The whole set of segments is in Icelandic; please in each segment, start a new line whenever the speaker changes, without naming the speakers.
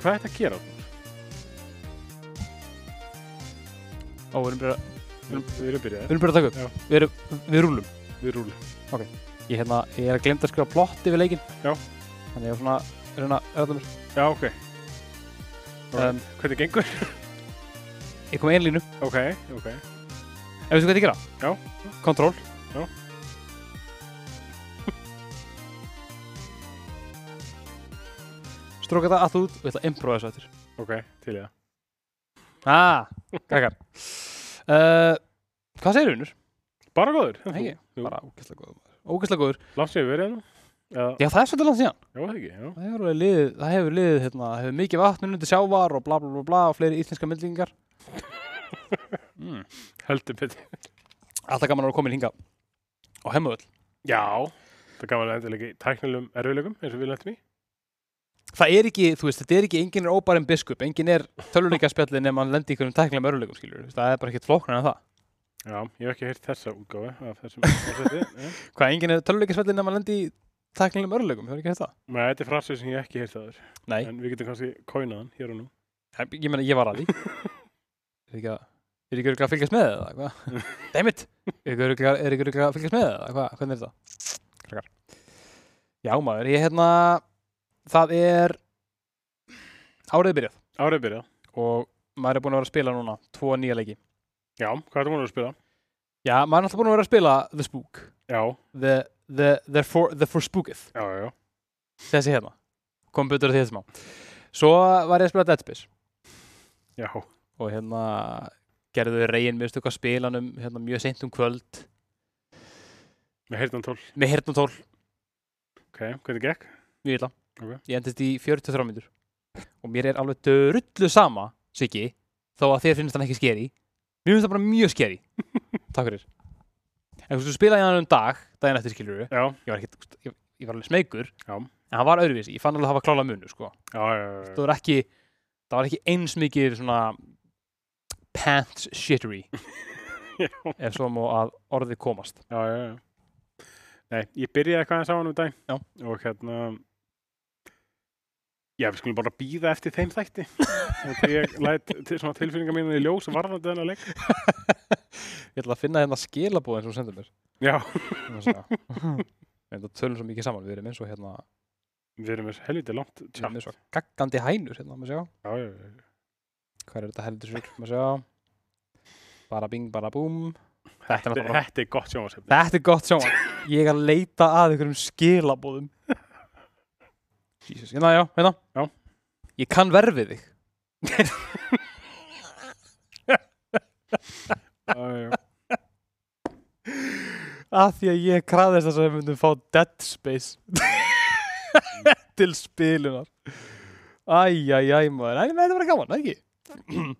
hvað ætti að gera?
Ó, við erum bara,
Við við erum
við
byrjaðið,
erum bara að taka
Já.
upp Við erum, við rúlum
við rúlum.
Ég, hérna, ég er að glemta að skrifa plott yfir leikin
Já.
Þannig ég er svona, að reyna að ræða mér
Já, ok.
um,
Alright. Hvernig gengur?
Ég kom með einu línu
Ok, ok.
En veistu hvað ég gera?
Já.
Control
Já.
Stróka það allt út og ég ætla að improva þessu eftir
Ok, til í það.
Ah, krakkar uh, Hvað segir vinnur?
Bara góður.
Nei, ég-
Jú.
Bara ógæslega góður maður Ógæslega góður
Látt sér við verið hérna? Já,
Já, það er svolítið langt síðan
já, það ekki, já.
Það hefur alveg liðið, það hefur liðið, hérna, það hefur mikið vatn unnandi sjávar og bla bla bla bla og fleiri íslenska myndlingar
Hmm.
mm.
Heldur betur.
Alltaf gaman að vera komin hinga og hemmu öll
Já. Það er gaman að endilega í tæknilegum erfiðlegum eins og við lentum í.
Það er ekki, þú veist, þetta er ekki, enginn er óbærin biskup, enginn er töluleikaspjallin ef mann lendi í einhverjum tæknilega mörguleikum, skilur Það er bara ekkert flóknar en það
Já, ég hef ekki heyrt þessa útgáfu af þessum forseti. en-
Hvað, enginn er töluleikaspjallin ef mann lendi í tæknilega mörguleikum, það er ekki hægt það
Nei, þetta er frasið sem ég hef ekki heyrt aður.
Nei,
En við getum kannski kóinaðan hér og nú.
ég, ég meina, ég var að því Er ekki að, er ekki örugglega að fylgjast með eða hvað? Dammit, er ekki örugglega- er ekki örugglega að fylgjast með eða hvað? Hvernig er þetta? Krakkar. Já maður, ég hérna, það er árið byrjað
Árið byrjað.
og maður er búinn að vera að spila núna, tvo nýja leiki.
Já, hvað er það múin að spila?
Já, maður er alltaf búinn að vera að spila The Spook,
Já,
The, the, the, for, the For Spooketh,
já, já, já.
þessi hérna, kom betur að því þessum á. Svo var ég að spila Dead Space.
Já,
og hérna gerðu reygin mistök á spilanum hérna, mjög seint um kvöld
með heyrðan tól.
með hirtnatól,
Ok, hvernig gekk?
mjög illa
Ok.
ég endist í 43 mínútur og mér er alveg dörullu sama Siggi, þó að þér finnst hann ekki skeri mér finnst það bara mjög skeri takk fyrir en þú veist, þú spilaði hann um dag, daginn eftir skilur ég
Já,
var, ekki, ég, ég var alveg smeykur
Já.
en hann var öðruvísi, ég fann alveg að hafa klála munu sko.
já, já, já, já.
það var ekki það var ekki eins mikið svona pants shittery
Já.
ef svo má að orðið komast
já, já, já. Nei, ég byrjaði eitthvað aðeins á hann um dag
Já.
og hérna Já, við skulum bara býða eftir þeim þætti og þegar ég læt til, svona tilfinningar mínu í ljós varðandi þennan leik
Ég ætla að finna hérna skilabóðin sem þú sendir mér. Hérna
Já,
Ég ætla að segja. En það tölum svo mikið saman, við erum eins og hérna,
við erum með helviti langt
við erum
tjátt
eins og gaggandi hænur hérna, maður sjá.
Já, já, já, já.
Hvað er þetta heldur sér, maður sjá. Bara bing, bara búm. Þetta er
Þetta,
náttúrulega bara,
þetta er gott sjónvarsefni
þetta er gott sjóman. Ég er að leita að einhverjum skilabóðum. Jesus, hérna, já, hérna.
Já.
Ég kann verfið þig.
Já, já, já.
Af því að ég kraðist þess að við myndum fá Dead Space til spilunar. Æjæjæj, maður. Æ, þetta var gaman, ekki?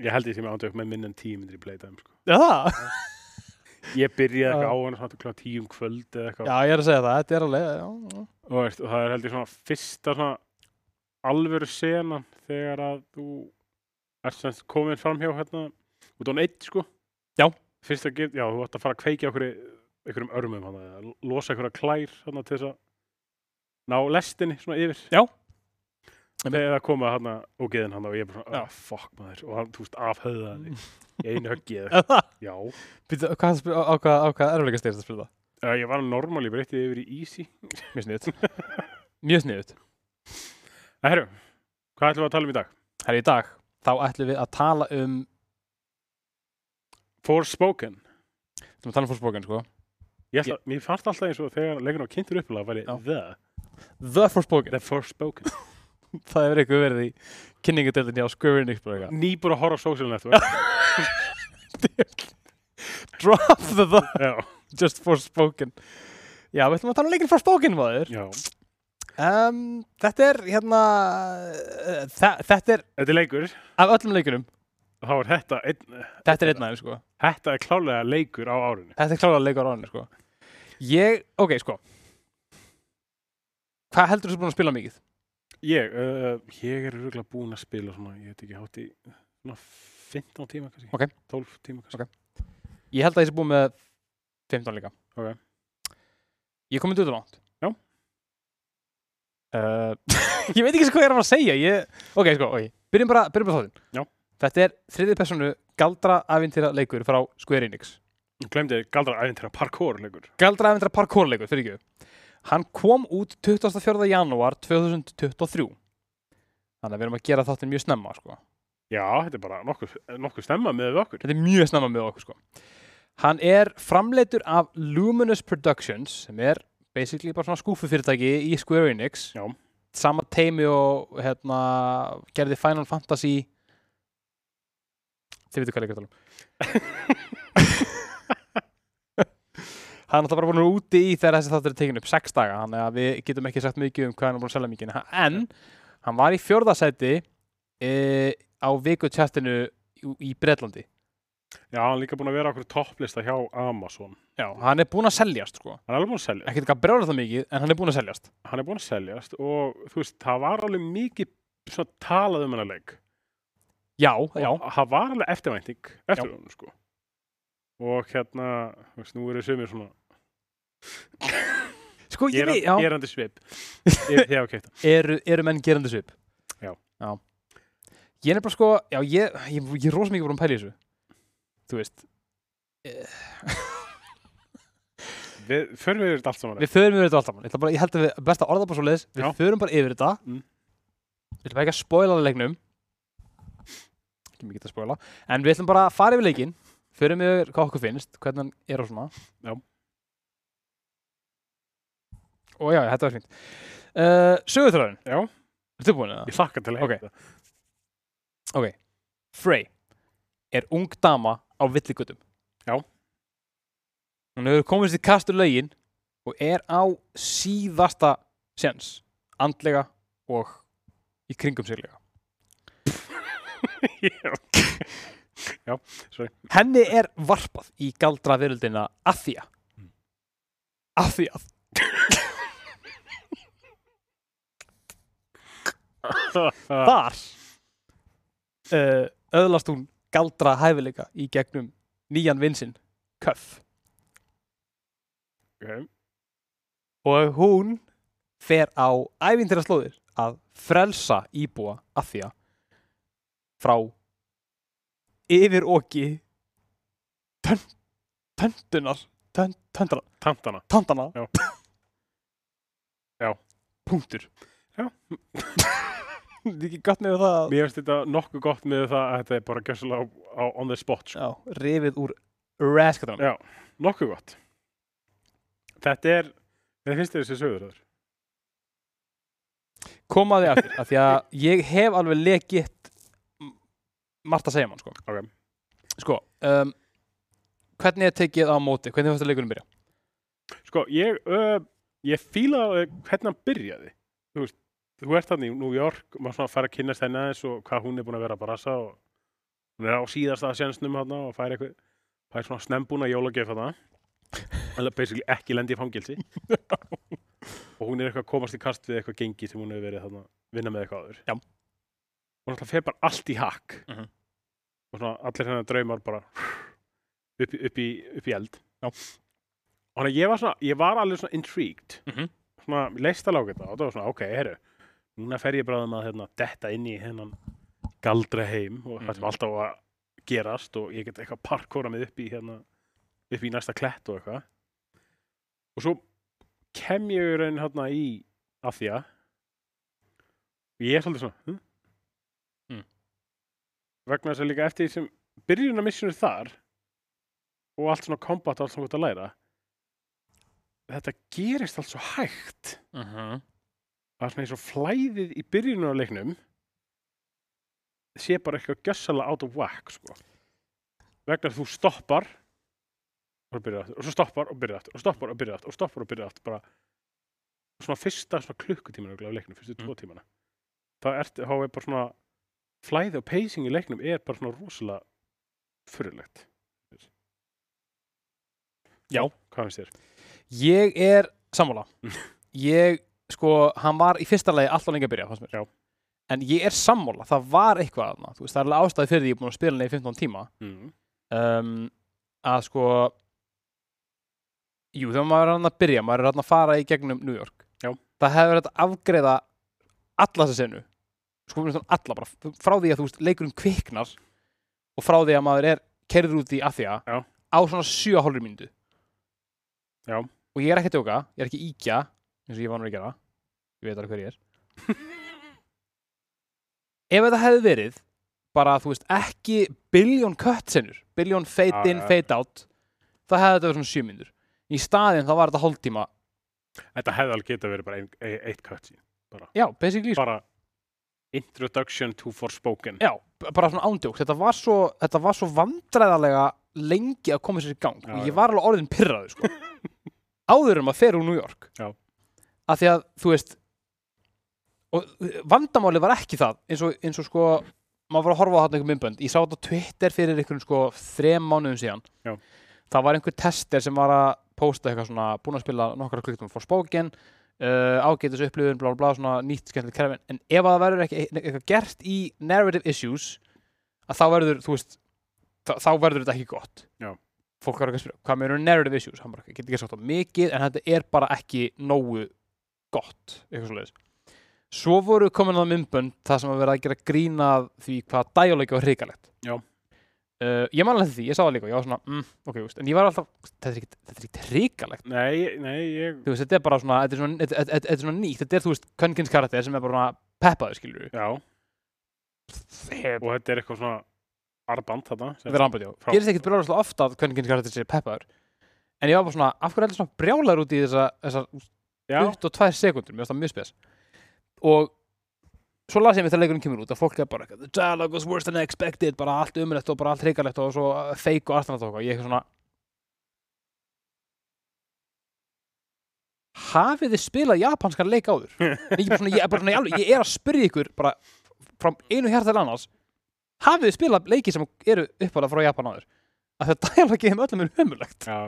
Ég held ég sem ándu upp með minn en tíu myndir í playtime sko.
Já, það.
Ég byrjaði
Já.
eitthvað á hann svona klá tíum um kvöld eða eitthvað
Já, ég er að segja það, þetta er alveg, já, já.
og, veist, og það er heldur svona fyrsta svona alvöru senan þegar að þú ert sem sagt komin fram hjá hérna út án eitt sko
Já.
fyrsta gift, já þú ætti að fara að kveikja okkur einhverjum örmum hann eða losa einhverja klær hann til þess að ná lestinni svona yfir
Já.
þegar það koma hann og geðin hann og ég bara svona
Já. Mm.
ah, fuck maður og hann þú veist afhauða hann í í einu höggi eða
Er það?
eitthvað. já
Býttu, hvað, spil- á, á, hvað, á hvað erfleika styrst að spila það?
Eh, ég var normal ég breytti yfir í easy
Mjög sniðut. Mjög sniðut.
Nei, herru, hvað ætlum við að tala um í dag?
Herri, í dag, þá ætlum við að tala um,
Forspoken
við ætlum að tala um Forspoken, sko.
Ég ætla, mér fannst alltaf eins og þegar leikurinn var kynntur uppilega væri
Já.
the,
The Forspoken.
the Forspoken
Það hefur eitthvað verið í kynningadeildinni á Square Enix, bara eitthvað.
nýbúr að horfa á social network
Drop the the,
já,
just Forspoken. Já, við ætlum að tala um leikinn Forspoken, maður.
já.
Um, þetta er, hérna, eh, þa- þetta er,
þetta er leikur
af öllum leikunum,
þá er þetta einn,
þetta er einn aðeins, sko.
þetta er klálega leikur á árinu
Þetta er klálega leikur á ráðinu, sko. Ég, ok, sko. Hvað heldur þú sem búin að spila mikið?
ég, uh, ég er röglega búinn að spila svona, ég veit ekki hátt í svona 15 tíma kannski
Ok.
12 tíma kannski
Ég held að ég sé búin með 15 líka.
Ok.
Ég komið út langt.
Já.
uh, ég veit ekki sem hvað ég er að fara að segja ég, ok, sko, ok, byrjum bara, byrjum bara
Já.
þóttin þetta er þriðið personu galdra avintýra leikur frá Square Enix
Ég glemdi galdra æfintina parkour leikur.
galdra avintýra parkour leikur, fyrir ekki hann kom út 24. janúar 2023 þannig að við erum að gera þáttin mjög snemma sko.
Já, þetta er bara nokkuð, nokkuð stemma með við okkur.
þetta er mjög snemma með okkur sko. hann er framleittur af Luminous Productions sem er basically bara svona skúfufyrirtæki í Square Enix
Já.
sama teimi og hérna, gerði Final Fantasy þið veitu hvað leikur ég er að tala um hann er náttúrulega bara búin úti í þegar þessi þáttur er tekin upp sex daga, þannig að við getum ekki sagt mikið um hvað hann er búin að selja mikið en hann var í fjórðasæti e, á vikutjættinu í, í Bretlandi
Já, hann er líka búin að vera okkur topplista hjá Amazon.
Já, hann er búinn að seljast sko
Hann er alveg búin að seljast.
Ekkert eitthvað brjóla það mikið, en hann er búinn að seljast
Hann er búin að seljast og þú veist, það var alveg mikið svona talað um hennar leik.
Já,
Og
já,
Það var alveg eftirvænting eftir hún, sko. Og hérna, þú veist, nú eru sumir svona
sko ég veit, já
gerandi svip. Yfir því að kæta.
eru, eru menn gerandi svip
Já.
já. Ég er bara sko, já, ég, ég, ég er rosa mikið búinn að pæla í þessu Þú veist
Við förum við þetta allt saman.
Við förum yfir þetta alltaf, ég, ætla bara, ég held að við best að orða bara svo leiðis Við
Já.
förum bara yfir þetta
Mm.
Við ætlum ekki að spoila það leiknum Ekki mikið að spoila En við ætlum bara að fara yfir leikin Förum yfir hvað okkur finnst, hvernig hann er og svona
Já.
Og já, þetta var fínt uh, Söguþröðun,
Já,
ertu búin að það?
ég þakka til að
Ok.
heita.
Frey er ung dama á villigutum.
Já.
Hún hefur komist í kastu lögin og er á síðasta sens, andlega og í kringum siglega.
Já.
Henni er varpað í galdra veröldina að því að.
Mm.
Að því að.
Ah.
Þar uh, öðlast hún galdra hæfileika í gegnum nýjan vinsinn, Köff.
Ok.
og hún fer á ævintýra slóðir að frelsa íbúa að því að frá yfir oki tön, töndunar tön, töndra,
Tantana.
töndana
Já. Já.
punktur
Já.
Þetta er ekki gott með það að-
Mér finnst þetta nokkuð gott með það að þetta er bara gjössalega á, á on the spot, sko.
já, rifið úr raskatunum
Já. Nokkuð gott. Þetta er, mér finnst þetta þessi sögur þar.
koma því aftur, af því að ég hef alveg legitt m- margt að segja mann sko,
Ok.
sko um, hvernig er tekið á móti hvernig fannst að leikunum byrja?
Sko, ég, ö, ég fíla eh, hvernig hann byrjaði. Þú veist, þú ert hann í New York, maður svona fær að kynast henni aðeins og hvað hún er búin að vera að brasa og hún er á síðasta sjensnum hann og fær eitthvað, fær svona snembúna jólagjöf hann alveg basically ekki lendi í fangilsi og hún er eitthvað að komast í kast við eitthvað gengi sem hún hefur verið þarna vinna með eitthvað áður
Já.
og náttúrulega fer bara allt í hakk
Mhm.
og svona allir hennar draumar bara upp, í- upp, í, upp í eld
Já.
og hann að ég var svona ég var alveg svona intrigued
Mhm.
svona leist alveg á þetta og það var svona ok, herru núna fer ég bráðum að hérna, detta inn í hennan galdra heim og það sem
Mhm.
alltaf á að gerast og ég get eitthvað parkóra mig upp í hérna upp í næsta klett og eitthvað og svo kem ég í raun hérna í að því að og ég er svolítið svona hm?
Mm.
vegna þess að líka eftir því sem byrjun að missjónu þar og allt svona kombat og allt svona gott að læra þetta gerist allt svo hægt
Uh -huh.
það er svona eins og flæðið í byrjunum á leiknum sé bara eitthvað gjössalega out of whack sko. vegna þess að þú stoppar og byrjar aftur og svo stoppar og byrjar aftur og stoppar og byrjar aftur og stoppar og byrjar aftur bara svona fyrsta svona klukkutíman örugglega af leiknum, fyrstu
Mm.
tvo tímana þá er, þá er bara svona flæði og pacing í leiknum er bara svona rosalega fyrirlegt
Já.
hvað finnst þér?
ég er sammála ég sko, hann var í fyrsta lagi alltaf lengi að byrja fannst mér
Já.
en ég er sammála, það var eitthvað þarna, þú veist, það er alveg ástæði fyrir því ég er búin að spila hann í 15 tíma
Mm.
um, að sko jú, þegar maður er hann að byrja maður er hann að fara í gegnum New York
Já.
það hefur verið að afgreða alla þessa senu sko við erum svona alla bara frá því að þú veist leikurinn kviknar og frá því að maður er kerður út í aðja
Já.
á svona 7,5 mínútu
Já.
og ég er ekki að tjóka, ég er ekki að íkja eins og ég vanur að gera ég veit alveg hver ég er ef þetta hefði verið bara þú veist ekki biljón cutscenur, biljón fade
Já,
in,
já.
fade out þá hefði þetta verið svona 7 mínútur í staðinn þá var þetta hálftíma
Þetta hefði alveg geta verið bara ein, e, eitt cutscene.
já, basically sko.
Bara Introduction to Forspoken.
Já, b- bara svona ándjók þetta var svo, þetta var svo vandræðalega lengi að koma sér í gang
Já,
og
já.
ég var alveg orðin pyrraði sko. áður um að fer úr New York
Já.
að því að þú veist og vandamáli var ekki það eins og, eins og sko maður var að horfa á þarna einhver myndbönd ég sá þetta á Twitter fyrir einhverjum sko þrem mánuðum síðan
Já.
það var einhver tester sem var að posta eitthvað svona búin að spila nokkra klukkum for spoken uh, ágætis upplifun, blá, blá, blá, svona nýtt skemmtilegt kerfi en ef að það verður ekki ne- eitthvað gert í narrative issues að þá verður, þú veist þá, þá verður þetta ekki gott
Já.
fólk verður ekki að spyrja, hvað með narrative issues hann bara, ég get ekki sagt það mikið, en þetta er bara ekki nógu gott eitthvað svoleiðis svo voru komin að myndbönd það sem að vera að gera grína því hvað dæjuleika var hrikalegt
Já.
Uh, ég man alveg eftir því, ég sá það líka, og ég var svona mm, ok, þú veist, en ég var alltaf, þetta er ekkit- þetta er ekkert hrikalegt
Nei, nei, ég...
þú veist, þetta er bara svona, þetta er svona, þetta, þetta, þetta er svona nýtt, þetta er, þú veist, kvönkins karakter sem er bara svona peppaður, skilur við.
Já, og
Þetta
þetta er eitthvað svona arband þarna. sem-
er rambandi, já.
Frá-
Gerist ekkert brjálæðislega ofta að kvönkins karakter sé peppaður. En ég var bara svona, af hverju er þetta svona brjálæður út í þessa, þessar
Já,
22 sekundur, mér finnst það mjög spes. Og svo las ég mér þegar leikurinn kemur út að fólk er bara, eitthvað, the dialogue was worse than I expected, bara allt umrætt og bara allt hreikalegt og svo uh, fake og allt annað og eitthvað. Ég er eitthvað svona, hafið þið spilað japanskan leik áður? Nei, ég, er bara svona, ég, er bara svona, í alveg, ég er að spyrja ykkur bara frá einu hjarta til annars hafið þið spilað leiki sem eru uppalað frá Japan áður að það dæla um öllum er ömurlegt
já.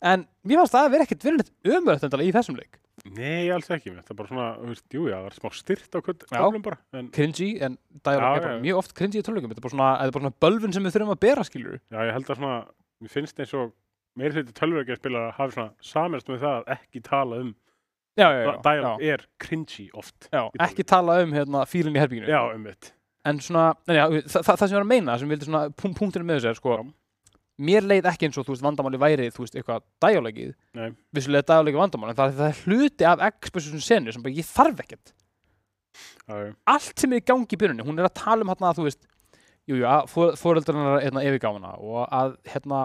en mér fannst það að vera ekkert verið ömurlegt endala í þessum leik
Nei, alls ekki. Þetta er bara svona, þú veist, jú, já, það var smá styrt á kvöld-
Já.
köflum bara. En,
cringy en dæla
Já,
er bara
já.
mjög oft cringy í töluleikum þetta er bara svona, þetta er bara svona bölvin sem við þurfum að bera skilur
já, ég held að svona, mér finnst eins og meiri hluti tölvöki að spila hafi svona samist með það að ekki tala um
já, já, já,
að dialog
já,
er cringy oft.
já,
í
ekki tala um hérna, fílinn í herbygginu
Já, um mitt.
en svona, en já, þa þa það sem ég var að meina sem vildi svona pun punktinu með þessu er sko
Já.
mér leið ekki eins og þú veist vandamáli væri þú veist eitthvað dæjálegið
Nei.
vissulega dæjálegið vandamál en það, er- það er hluti af exposition senu sem bara ég þarf ekkert
Já, já.
allt sem er í gangi í byrjunni, hún er að tala um hérna að þú veist, jú, jú, að fóreldrarna er hérna yfirgáfuna og að hérna,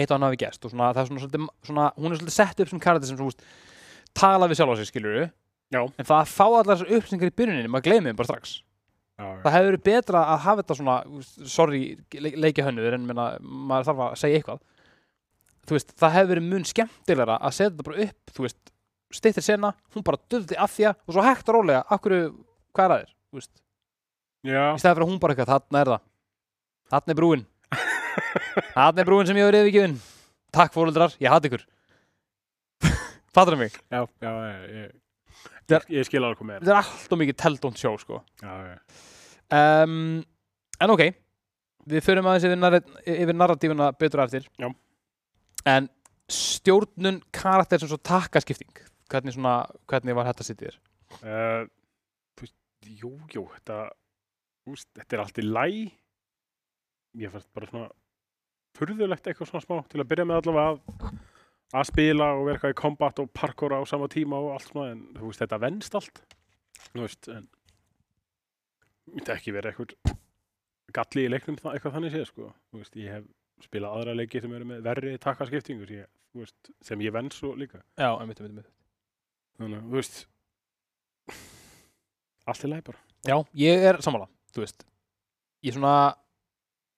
eitt og hann hafi gest og svona, það er svona, svona, svona hún er svolítið sett upp sem karakter sem svona, þú veist, tala við sjálf á sig, skilur
Já.
en það að fá allar þessar upplýsingar í byrjuninni, maður gleymi þeim bara strax
já, já.
það hefur verið betra að hafa þetta svona þú veist, sorry, le leikja hönnuður en menna, maður þarf að segja eitthvað þú veist, það hefur verið mun skemmtilegra að setja þetta bara upp, þú veist stittir sena, hún bara döfði af því að og svo hægt og rólega, akkur, hvað er að þér þú veist,
Já,
í staði fyrir að hún bara eitthvað, þarna er það þarna er brúin þarna er brúin sem ég hefur yfirgefin takk fóruldrar, ég hatt ykkur fattur mig,
já, já, já, ég,
Þetta
ég, ég skil alveg hvað með
þetta er allt og mikið teldónt sjó, sko
Já, já,
um, En ok Við förum aðeins yfir, narrat yfir narratífuna betur á eftir
Já.
En stjórnun karakter sem svo takkaskipting Hvernig, svona, hvernig var þetta sitt í þér?
Eh, þú veist, jú, jú, þetta, úst, þetta er allt í læ. Ég fannst bara svona furðulegt eitthvað svona smá til að byrja með allavega að, að spila og vera eitthvað í kombat og parkour á sama tíma og allt svona, en þú veist, þetta venst allt. Þú veist, en myndi ekki vera eitthvað galli í leiknum það, eitthvað þannig séð, sko. Þú veist, ég hef spilað aðra leiki sem eru með verri takkaskiptingur, ég, þú veist, sem ég venst svo líka
Já, einmitt, einmitt, einmitt.
þannig að, þú veist allt er leið bara
Já, ég er sammála Þú veist Ég svona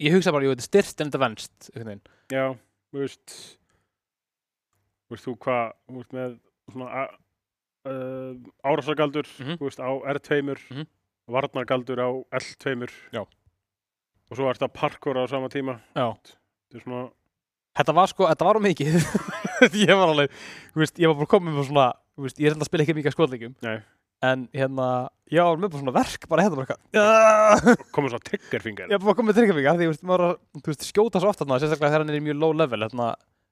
Ég hugsa bara, ég veit, styrst en þetta venst einhvern veginn.
já, þú veist þú veist þú hvað þú veist með svona a- uh, árásargaldur
Mhm.
þú veist á R2
Mhm.
varnargaldur á L2
Já.
og svo ertu að parkora á sama tíma
Já
þetta er svona
Þetta var sko, þetta var á mikið Ég var alveg, þú veist, ég var bara komin með svona Þú veist, ég er enda að spila ekki mikið af skotleikum
Nei.
En hérna, ég var með bara svona verk Bara hérna bara eitthvað
komið svona triggerfingar
Ég er bara komið með triggerfinga því, þú veist, maður, er að- þú veist, skjóta svo oft þarna, sérstaklega þegar hann er í mjög low level, þarna,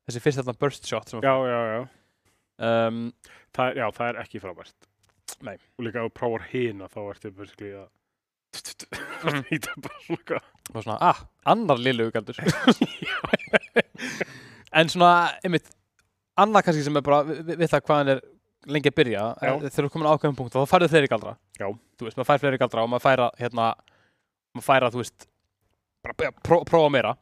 þessi fyrst þarna burst shot sem,
já, já, já
um,
það er, já, það er ekki frábært
Nei.
og líka að prófar hina þá ertu basically að
Mhm.
hýta bara svona eitthvað.
og svona, ah, annar lillugaldur en svona, einmitt annað kannski sem er bara við, við- við það hvað hann er lengi að byrja
Já.
eh, þegar þú komin á ákveðum punkt þá færðu fleiri galdra
Já.
þú veist, maður fær fleiri galdra og maður færa hérna, maður færa, þú veist bara byrja að pró, prófa meira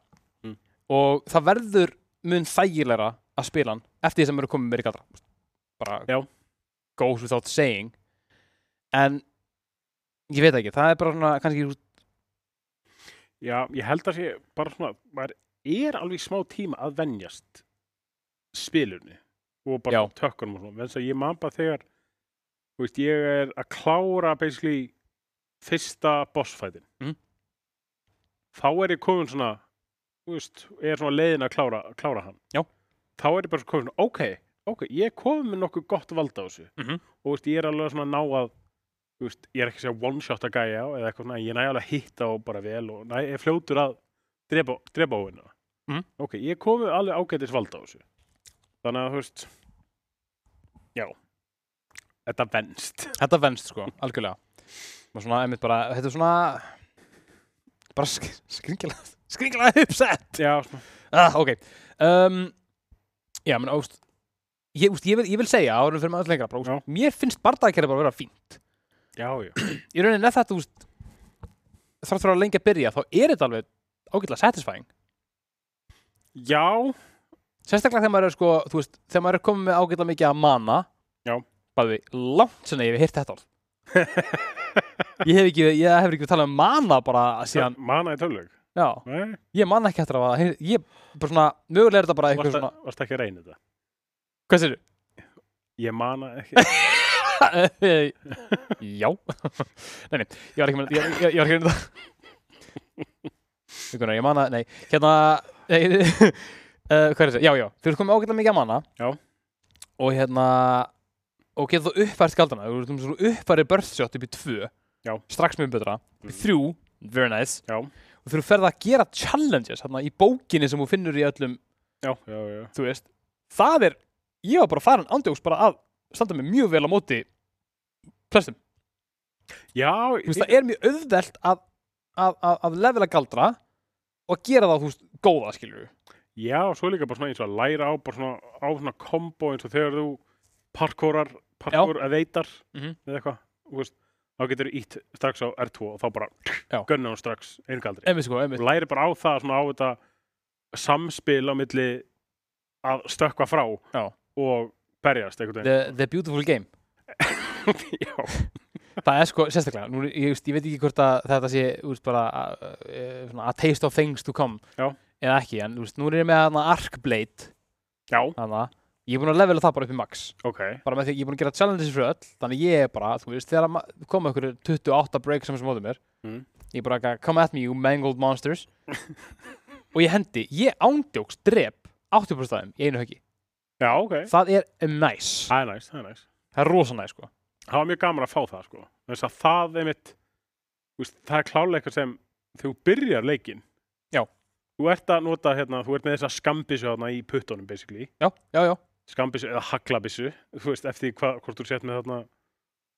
Mm.
og það verður mun þægilegra að spila hann eftir því sem eru komið meiri galdra bara
Já.
goes without saying en ég veit ekki, það er bara svona kannski þú
já, ég held að sé bara svona maður er alveg í smá tíma að venjast spilunni og bara
Já.
tökkunum og svona Vegna þess að ég man bara þegar þú veist, ég er að klára basically fyrsta bossfætin
Mhm.
þá er ég komin svona þú veist, er svona leiðin að klára, klára hann
Já.
þá er ég bara komin svona, ok, ok ég er komin með nokkuð gott vald á þessu
Mhm.
og þú veist, ég er alveg svona að ná að þú veist, ég er ekki að segja one shot að gæja á eða eitthvað svona, en ég næ alveg að hitta og bara vel og næ, er fljótur að drepa, drepa á hennar
Mhm.
ok, ég er komin með alveg ágætis vald á þessu þannig að þú veist já þetta venst
Þetta venst sko, algjörlega og svona, einmitt bara, þetta er svona bara sk skringilað skringilað uppsett
já, svona,
ah, ok um, já, menn, óst ég, úst, ég, vil, ég vil segja, árum fyrir maður lengra bara,
Já.
úst, mér finnst barndagkerði bara að vera fínt
já, já,
í rauninni nefn þetta, úst þrátt fyrir að lengi að byrja, þá er þetta alveg ágætlega satisfying,
já
sérstaklega þegar maður er sko, þú veist, þegar maður er komið með ágætlega mikið að mana
Já.
bæði langt sinni, ég hef heyrt þetta orð. ég hef ekki, ég hef ekki talað um mana bara síðan,
manna í töluleik
já
Nei,
ég man ekki eftir að hafa heyrt- ég bara svona, mögulega er þetta bara eitthvað
varst,
svona
varst ekki að reyna þetta
hvað sér
ég manna ekki
þú? já nei, nei, ég var ekki með ég, ég, ég var ekki með það Gunnar, ég manna, nei, hérna nei, uh, hvað er þetta, já, já þú ert komið ágætlega mikið að manna
Já.
og hérna og getur þú uppfært skaldana, þú ert um svona uppfærið börðsjótt upp í tvö,
Já. Mm.
strax mjög betra upp í þrjú, very nice
Já.
og þú ferð að gera challenges hérna í bókinni sem þú finnur í öllum
já, já, já,
þú veist, það er ég var bara farin ándjóks bara að standa mig mjög vel á móti flestum,
já
þú veist, það er mjög auðvelt að, að, að, að levela galdra og gera það, þú veist, góða skilur
Já, svo er líka bara svona eins og að læra á bara svona, á svona kombo eins og þegar þú parkourar, parkour að veitar
Mhm.
eða eitthvað, þú veist þá getur þú ítt strax á R2 og þá bara
Já.
gunna hún strax einu galdri
einmitt sko, einmitt,
og læri bara á það svona á þetta samspil á milli að stökkva frá
Já.
og berjast einhvern veginn
the, the beautiful game
Já,
það er sko, sérstaklega, nú, ég, veist, ég veit ekki hvort að þetta sé, þú veist, bara að, eh, svona, a taste of things to come
Já.
eða ekki, en þú veist, nú er ég með hana Arcblade,
já,
hana ég er búin að levela það bara upp í max
ok
bara með því að ég er búin að gera challenges fyrir öll þannig ég er bara, þú veist, þegar ma- koma ykkur 28 breaks sem sem mótið mér
Mm.
ég er bara að come at me you mangled monsters og ég hendi, ég ándjóks drep 80% af þeim í einu höggi
Já, ok,
það er nice,
það er næst, það er næst
það er rosa nice sko
það var mjög gaman að fá það sko þess að það er mitt veist, það er klálega eitthvað sem þegar þú byrjar leikin
Já.
þú ert að nota hérna, þú ert með þessa skambissu hérna í puttunum basically
já, já, já,
skambissu eða haglabissu þú veist eftir því hvað, hvort þú sett með þarna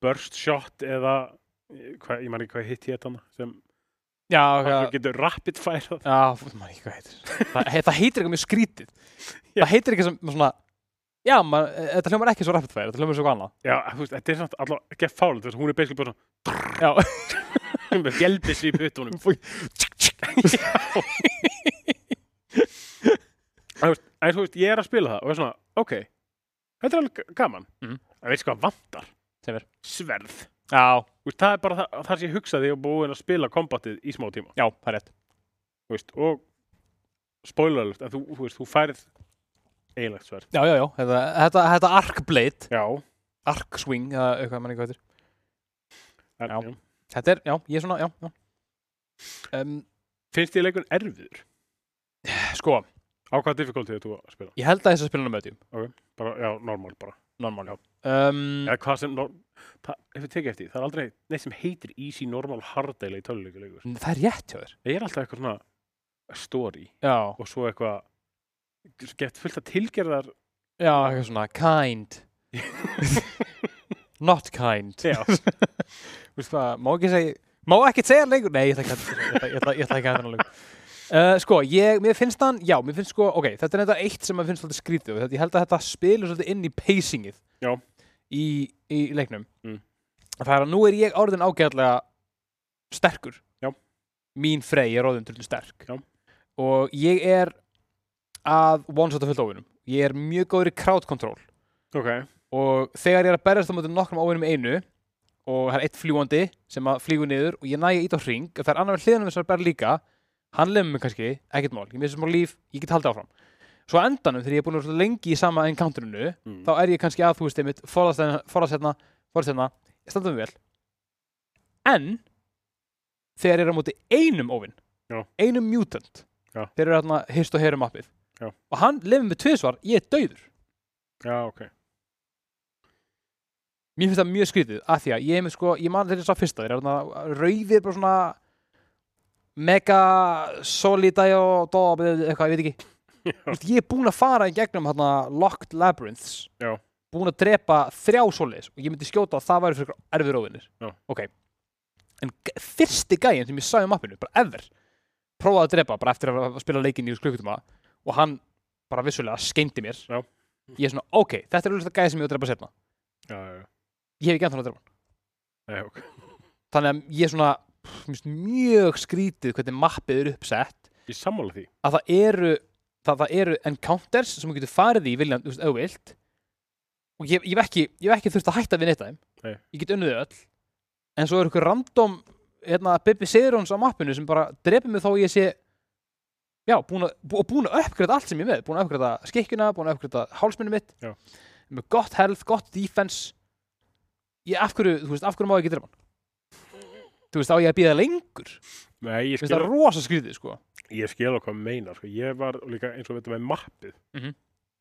burst shot eða eh, hvað, ég man ekki hvað hitt hétt hann sem
já,
þú
já,
getur rapid fire
já fú- maður ekki hvað heitir það, he, það heitir eitthvað mjög skrítið
Já.
það heitir eitthvað sem svona já, man, þetta hljómar ekki svo rapid fire, þetta hljómar svo hvað annað
já, þú veist, þetta er samt alltaf ekki fálega, þú veist, hún er basically bara
já,
svona með fjölbissu í puttunum en þú veist, ég er að spila það og er svona, ok, þetta er alveg g- gaman
Mhm.
en veistu hvað vantar?
Sem er?
Sverð
já,
Þú veist, það er bara það, það sem ég hugsaði og búin að spila kombatið í smá tíma
já, það er rétt
Þú veist, og spoilerlust, en þú, þú veist, þú færð eiginlegt sverð
já, já, já, þetta, þetta, þetta Arcblade
Já,
Arc Swing eða eitthvað manni hvað þetta
en,
er Já.
já.
Þetta er, já, ég er svona, já, já um,
Finnst þér leikun erfiður?
Sko,
Á hvað difficulty er þú að spila?
ég held að þess að spila hann mötjum
Bara, já, normal bara
Normal, já um,
Eða hvað sem, nor það, ef við tekið eftir, því, það er aldrei neitt sem heitir easy, normal, hardæla í töluleikuleikur
Það er rétt hjá þér
Það er alltaf eitthvað svona story
Já,
og svo eitthvað gett fullt að tilgerðar
Já, eitthvað svona kind Not kind
Já,
Þú veist það, má ekki segja Má ekki segja hann lengur? Nei, ég ætla ekki að- ég ætla- ég ætla- ég ætla ekki að hann lengur Uh, sko, ég, mér finnst hann, já, mér finnst sko, ok, þetta er þetta eitt sem mér finnst svolítið skrítið og þetta, ég held að þetta spilur svolítið inn í pacingið
Já.
í, í leiknum.
Mm.
Það er að nú er ég orðin ágæðlega sterkur.
Já.
Mín frey er orðin trullu sterk.
Já.
Og ég er að one-shota fullt óvinum. Ég er mjög góður í crowd control
ok,
og þegar ég er að berjast á mótum nokkrum óvinnum einu og það er eitt fljúandi sem að flýgu niður og ég næja ít á hring og það er annar með hliðanum sem er að berja líka hann lemur mig kannski, ekkert mál, ég missi smá líf ég get haldið áfram svo á endanum þegar ég er búin að vera svo lengi í sama encounterinu
mm.
þá er ég kannski að þú veist einmitt forðast hérna, forðast hérna, forðast hérna ég standa mig vel en þegar ég er á móti einum óvinn
Já.
einum mutant
Já.
þeir eru hérna hist og herum appið
Já.
og hann lemur mig tvisvar, ég er dauður
já, ok
Mér finnst það mjög skrítið, af því að ég er með sko, ég man þegar ég sá fyrsta, þeir eru þarna rauðir bara svona mega solida og dob eitthvað, ég veit ekki. Þú veist, ég er búinn að fara í gegnum hérna Locked Labyrinths,
Já.
búinn að drepa þrjá soliðis og ég myndi skjóta að það væri fyrir erfið róðinir.
Já.
Ok. En g- fyrsti gæinn sem ég sá í mappinu, bara ever, prófaði að drepa bara eftir að að spila leikinn í klukkutíma og hann bara vissulega skeindi mér.
Já.
Ég er svona, ok, þetta er auðvitað gæði sem ég á að drepa setna.
Já, já, já,
Ég hef ekki ennþá að drepa hann.
Nei, ok
þannig að ég er svona pff, mér finnst mjög skrítið hvernig mappið er uppsett
Ég sammála því
að það eru það, það eru encounters sem þú getur farið í viljan, þú veist, auðvilt og ég, ég, hef ekki, ég hef ekki þurft að hætta við neitt af þeim
Nei.
ég get unnið þau öll en svo er eitthvað random hérna, Bibi Sigrons á mappinu sem bara drepi mig þó ég sé já, búin að, bú, búin að uppgræta allt sem ég er með búin að uppgræta skikkuna, búin að uppgræta hálsminu mitt
Já.
með gott health, gott defense ég, af hverju, þú veist, af hverju má ég ekki drepa hann þú veist, á ég að býða lengur Mér
Nei, ég
finnst
skil,
það rosa skrítið, sko
ég skil á hvað meina sko. Ég var líka eins og þetta með mappið
Mhm.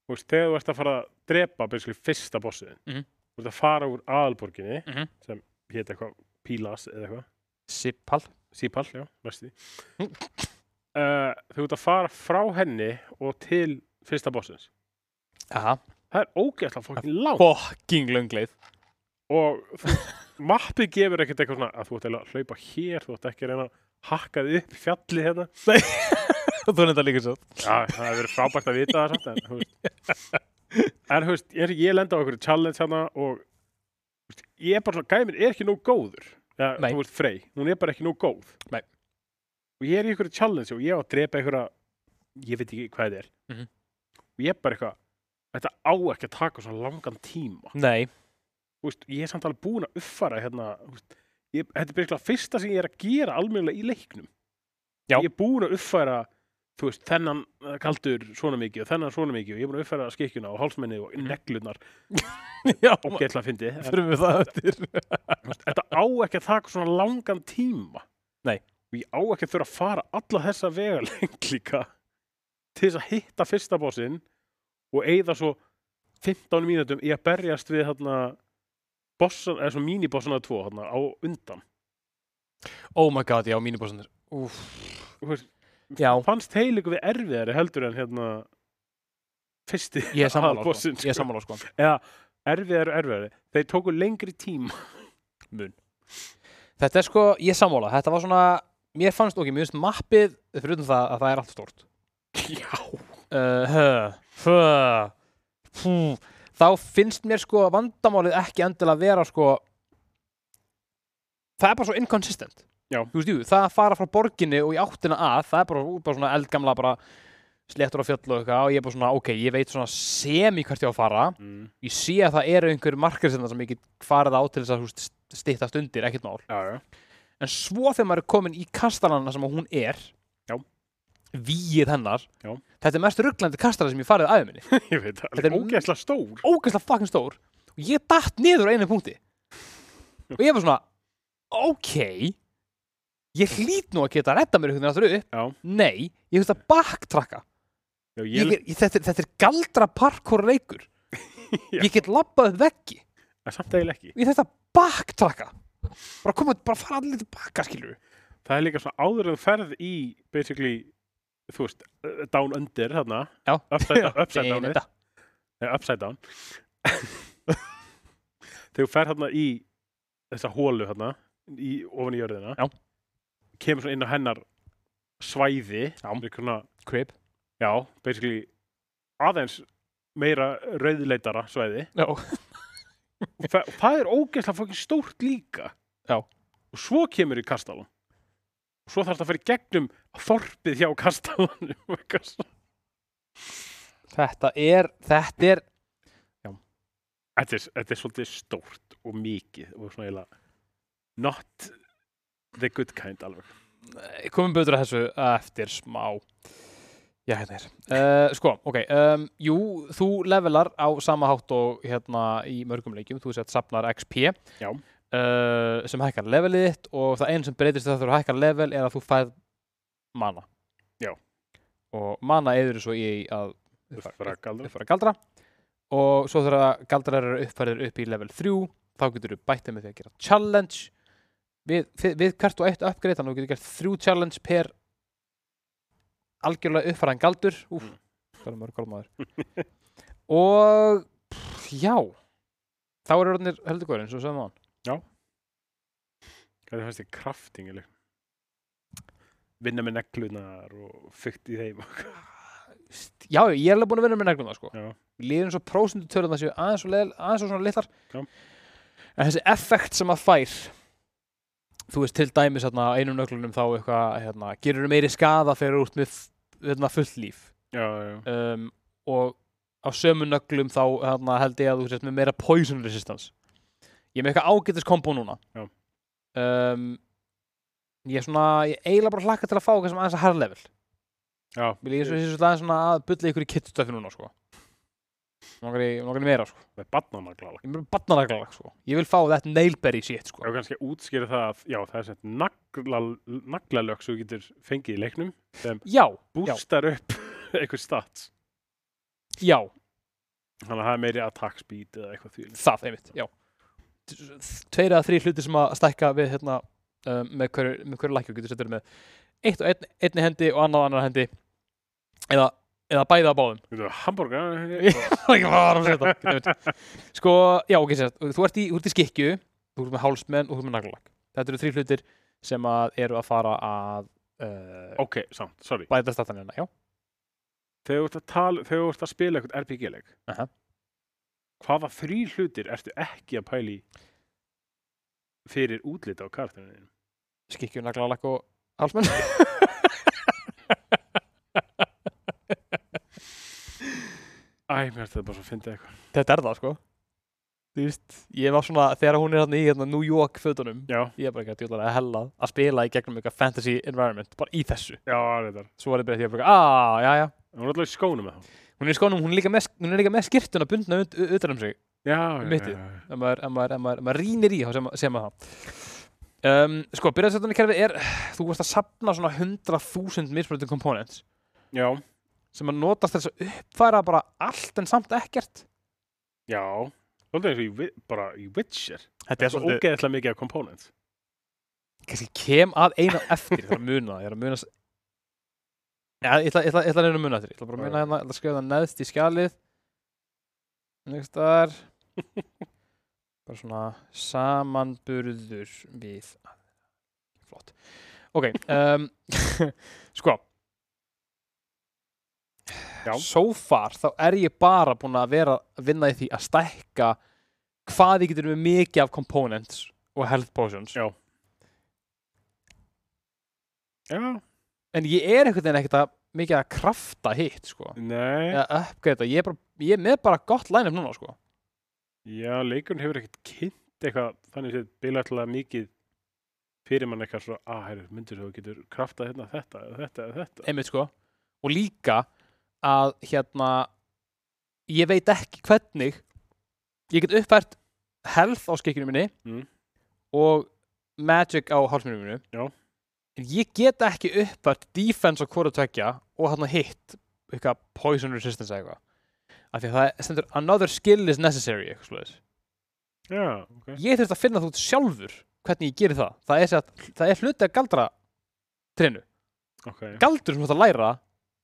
Þú veist, þegar þú ert að fara að drepa basically fyrsta bossiðin
Mhm.
Þú ert að fara úr aðalborginni
Mhm.
sem hétt eitthvað Pílas eða eitthvað
Sippal
Sípall, já, næstu því
Mhm.
uh, Þú ert að fara frá henni og til fyrsta bossins
Aha.
Það er ógeðslega fokkin langt
fucking löngleið
og þú, mappið gefur ekkert eitthvað svona að þú ert eiginlega að hlaupa hér, þú ert ekki að reyna að hakka þig upp fjallið hérna
Þú er þetta líka svo
Já, það hefur verið frábært að vita það samt en, þú veist en þú veist, ég, ég lenda á okkur challenge hérna og þú veist, ég er bara svona, gæminn er ekki nóg góður ja,
Nei.
þú veist, Frey, hún er bara ekki nóg góð
Nei.
og ég er í okkur challenge og ég á að drepa einhverja ég veit ekki hvað þetta er
Mhm.
og ég er bara eitthvað þetta á ekki að taka svona langan tíma
Nei,
Þú veist, ég er samt alveg búin að uppfara hérna, þú veist, ég, þetta er byrjulega fyrsta sem ég er að gera almennilega í leiknum
Já.
ég er búin að uppfæra þú veist, þennan eh, kaldur svona mikið og þennan svona mikið og ég er búin að uppfæra skikkjuna og hálsmenni og neglunar
já,
og
ok
getla að fyndi En
Fyrir við það eftir
þetta á ekki að taka svona langan tíma
Nei.
og ég á ekki að þurfa að fara alla þessa vegaleng líka til þess að hitta fyrsta bossinn og eigða svo 15 mínútum í að berjast við hérna bossan, eða svo mínibossana tvo hérna á undan
Oh my god, já, mínu bóðsandir Úf
Þú veist,
Já,
fannst heilingu við erfiðari heldur en hérna fyrsti
ég er sammála sko.
aðalbossinn,
Ég er sammála sko
eða erfiðar og erfiðari þeir tóku lengri tíma
Þetta er sko, ég er sammála Þetta var svona Mér fannst, ok, mér finnst mappið Fyrir utan það að það er allt stórt
já,
uh, huh, huh, huh. þá finnst mér sko vandamálið ekki endilega að vera sko það er bara svo inconsistent
Já.
Þú veist, jú, það að fara frá borginni og í áttina að það er bara, bara svona eldgamla bara sléttur á fjöll og eitthvað og ég er bara svona ok, ég veit svona semi hvert ég á að fara
mm.
ég sé að það eru einhverjum markir sem ég get farið á til þess að þú veist, styttast undir, ekkert mál
já, já.
en svo þegar maður er komin í kastalana sem að hún er
Já.
víið hennar
Já.
þetta er mest rugglandi kastalana sem ég farið aðeins minni
ég veit það,
Þetta er
alveg ógeðslega stór
ógæslega fucking stór og ég datt niður á einu punkti og ég var svona ok ég hlýt nú að geta að redda mér einhvern veginn aftur upp
Já.
nei, ég finnst að backtracka
já, ég,
ég, er- ég, þetta, er- þetta er galdra parkour leikur
Já.
ég get labbað upp veggi
en samt eiginlega ekki
ég þetta backtracka bara koma, bara fara allir tilbaka skilur
það er líka svona áður en þú ferð í basically, þú veist, uh, down eh, under þarna,
Já.
upside, upside down Nei, upside down Þegar þú fer hérna í þessa hólu hérna í, ofan í jörðina
Já.
kemur svona inn á hennar svæði
Já.
svona,
Crib
já, basically aðeins meira rauðleitara svæði
Já,
og fe- og það er ógeðslega fokkin stórt líka
Já.
og svo kemur í kastalum og svo þarfst að fara í gegnum þorpið hjá kastalum þetta
þetta er Þetta er
er, þetta er svolítið stórt og mikið og svona eiginlega not the good kind alveg
Nei, komum betur að þessu eftir smá Já, hérna er uh, Sko, ok, um, jú, þú levelar á sama hátt og hérna í mörgum leikjum, þú sett safnar XP
Já.
Eh, sem hækkar levelið þitt og það einu sem breytist þegar þú hækkar level er að þú færð mana
Já.
og mana eður svo í að uppfæra,
Frakaldur.
uppfæra galdra og svo þegar galdrar eru uppfærðir upp í level 3 þá getur þú bættið með því að gera challenge við, við, við hvert og eitt uppgreið þannig að þú getur gert þrjú challenge per algjörlega uppfæraðan galdur úf,
Mm.
það er mörg kolmaður og pff, já þá eru orðinir heldur góður eins og sem hann
Hvað er fannst þér krafting eller? vinna með neglunar og fykt í þeim
já, já, ég er alveg búin að vinna með neglum það sko
Já.
líður eins og prósundu tölum það séu aðeins og, leil, aðeins og svona litlar
Já.
en þessi effekt sem að fær þú veist til dæmis hérna, á einum nöglunum þá eitthvað hérna, gerur meiri skada þegar þú ert með hérna, fullt líf
já, já, já.
um, og á sömu nöglum þá hérna, held ég að þú sért með meira poison resistance ég er með eitthvað ágætis kombo núna
Já.
um, ég er svona ég eiginlega bara hlakka til að fá eitthvað sem aðeins að herra level
já.
Vil ég svo sé svolítið aðeins svona að bulla ykkur í kittstöfi núna sko Nógar í, nógar í meira sko
með barnanagla
Ég vil batnaraglalag sko Ég vil fá þetta nailberry shit
Já,
sko
kannski að útskýra það að, já, það er sett nagla, naglalög sem þú getur fengið í leiknum,
Já,
bústar upp eitthvað stats.
já,
Þannig að það er meiri attack speed eða eitthvað því.
það einmitt, já Tveir eða þrý hluti sem að stækka við hérna um, með hverju, með hverju lækju getur settur með eitt og einn, einni hendi og annað á annar hendi eða, eða bæða á báðum
Þú eh, veit, hamburger,
Ég var ekki bara að segja þetta einmitt. Sko, já, ok, sérst, þú ert í, þú ert í skikju þú ert með hálsmenn og þú ert með naglalakk Þetta eru þrý hlutir sem að eru að fara að uh,
ok, samt, sorry.
bæta statan hérna, já
Þegar þú ert að, tala, þegar þú ert að spila eitthvað RPG-leik,
Aha.
hvaða þrý hlutir ertu ekki að pæli fyrir útlita á kartinu þínum?
skikju, naglalakk og hálsmenn
Æ, mér ertu þetta bara svo að finna eitthvað.
Þetta er það, sko Þú veist, ég var svona, þegar hún er hérna í hérna, New York fötunum,
Já,
ég er bara ekki að djóðlega að hella að spila í gegnum eitthvað fantasy environment bara í þessu,
já, reyndar.
svo var ég bara, ég bara, aaa, já, já
Hún er alltaf í skónum með þá.
Hún er í skónum, hún er líka með, hún er líka með skirtuna bundna ut- u- utan um sig
Já, já,
Mittið.
já, já.
ef maður, ef maður, ef maður, ef maður rýnir í þá sem, sem að það um, sko, byrjaðsættunarkerfi er þú vorst að sapna svona 100.000 mismunandi komponents
Já,
sem að notast til þess að uppfæra bara allt en samt ekkert
já. Svolítið eins og í, Vi- bara í Witcher.
þetta
svo ógeðslega mikið af komponent
kannski kem að eina eftir það er að muna, það, ég er að muna s- Já, ég ætla, ég ætla, ég ætla að reyna að muna eftir, ég ætla bara að muna hérna, ég ætla að skrifa það neðst í skjalið Next þar Bara svona samanburður við Flott Ok, um, sko
Já.
So far þá er ég bara búin að vera að vinna í því að stækka hvað ég getur með mikið af components og health potions
Já. Já,
en ég er einhvern veginn ekkert að mikið að krafta hitt sko
nei,
eða uppgreita, ég er, bara, ég er með bara gott line-up núna sko
já, leikurinn hefur ekkert kynnt eitthvað, þannig séð bilætla mikið fyrir mann eitthvað "Ah, svo, að, herru, myndir þú getur kraftað hérna þetta, eða þetta, eða þetta
einmitt sko, og líka að hérna ég veit ekki hvernig ég get uppfært health á skikjunum minni
Mm.
og magic á hálsmjörnum minni
Já.
en ég get ekki uppfært defense á hvora tvekja og hérna hitt eitthvað poison resistance eða eitthvað af því að það stendur another skill is necessary eitthvað slúðis
Já, ok,
ég þurft að finna þú sjálfur hvernig ég gerir það það er, sem sagt- það er hluti að galdra trinu,
ok
galdur sem þú ætti að læra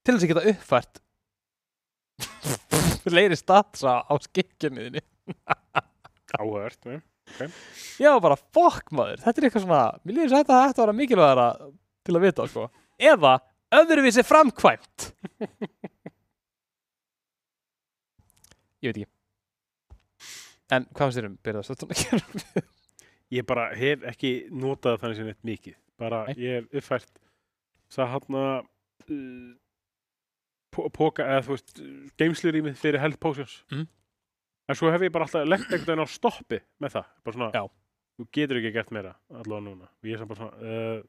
til þess að geta uppfært fleiri statsa á skikkjunniðinni
áhört já,
ég var bara fokk maður, þetta er eitthvað svona mér líður svo að þetta ætti að vera mikilvægara til að vita sko, eða öðruvísi framkvæmt ég veit ekki en hvað finnst þér um byrðastöldun að gera
ég bara hef ekki notað þannig sem neitt mikið bara
Nei.
ég hef uppfært það hann að uh, po- poka eða þú veist geimslur í mig fyrir health potions
Mhm.
en svo hef ég bara alltaf legt einhvern veginn á stoppi með það bara svona
Já.
þú getur ekki gert meira allavega núna ég er samt bara svona uh,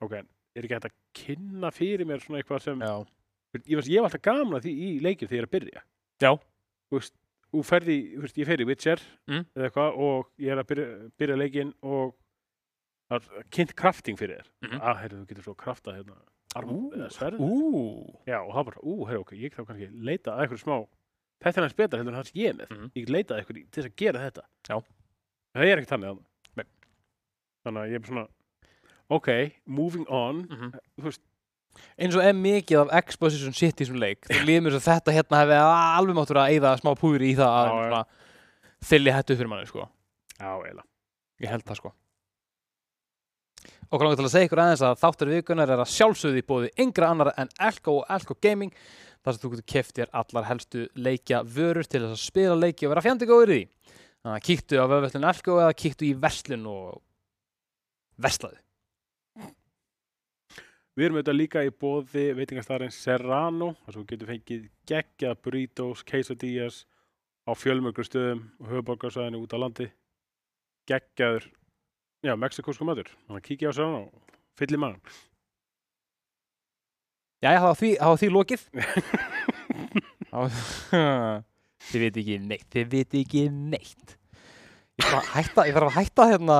ok en er ekki hægt að kynna fyrir mér svona eitthvað sem
já,
ég, veist, ég var alltaf gaman að því í leikjum þegar ég er að byrja
Já.
þú veist, þú ferði, þú veist, ég fer í Witcher
Mm.
eða eitthvað og ég er að byrja, byrja leikinn og það er kynnt krafting fyrir þér
Mhm.
að, heyrðu, þú getur svo kraftað hérna arma,
Ú,
eða sverð,
ú
já, og það bara, ú, heyrðu, ok ég þá kannski leita að eitthvað smá þetta er hans betra heldur en það sem ég er með
Mhm.
ég get leitað að eitthvað til þess að gera þetta
Já.
það er ekkert þannig
Nei.
þannig þannig að ég er bara svona ok, moving on
Mm.
þú veist,
Eh, eins og er mikið af exposition shit í þessum leik þú líður mér svo þetta hérna hefði alveg máttur að eyða smá púður í það að
Já, já.
svona, þylli hættu fyrir manni sko
já, eiginlega
Ég held það sko. Okkur langar til að segja ykkur aðeins að þáttur vikunar er að sjálfsögðu í bóði yngra annara en Elko og Elko Gaming þar sem þú getur keft þér allar helstu leikja vörur til þess að spila leiki og vera fjandi góður í því. Þannig að kíktu á vefvöldin Elko eða kíktu í verslun og verslaði.
Við erum auðvitað líka í bóði veitingastarinn Serrano, þar sem þú getur fengið geggja burritos, quesadillas á fjölmörgur stöðum og höfuborgarsæðinu út á landi geggjaður, já, mexikósku matur þannig að kíkja á Serrano og fyllir maður
Jæja, það var því, það var því lokið. Það var- Þið veit ekki neitt, þið veit ekki neitt. Ég þarf að hætta, ég þarf að hætta hérna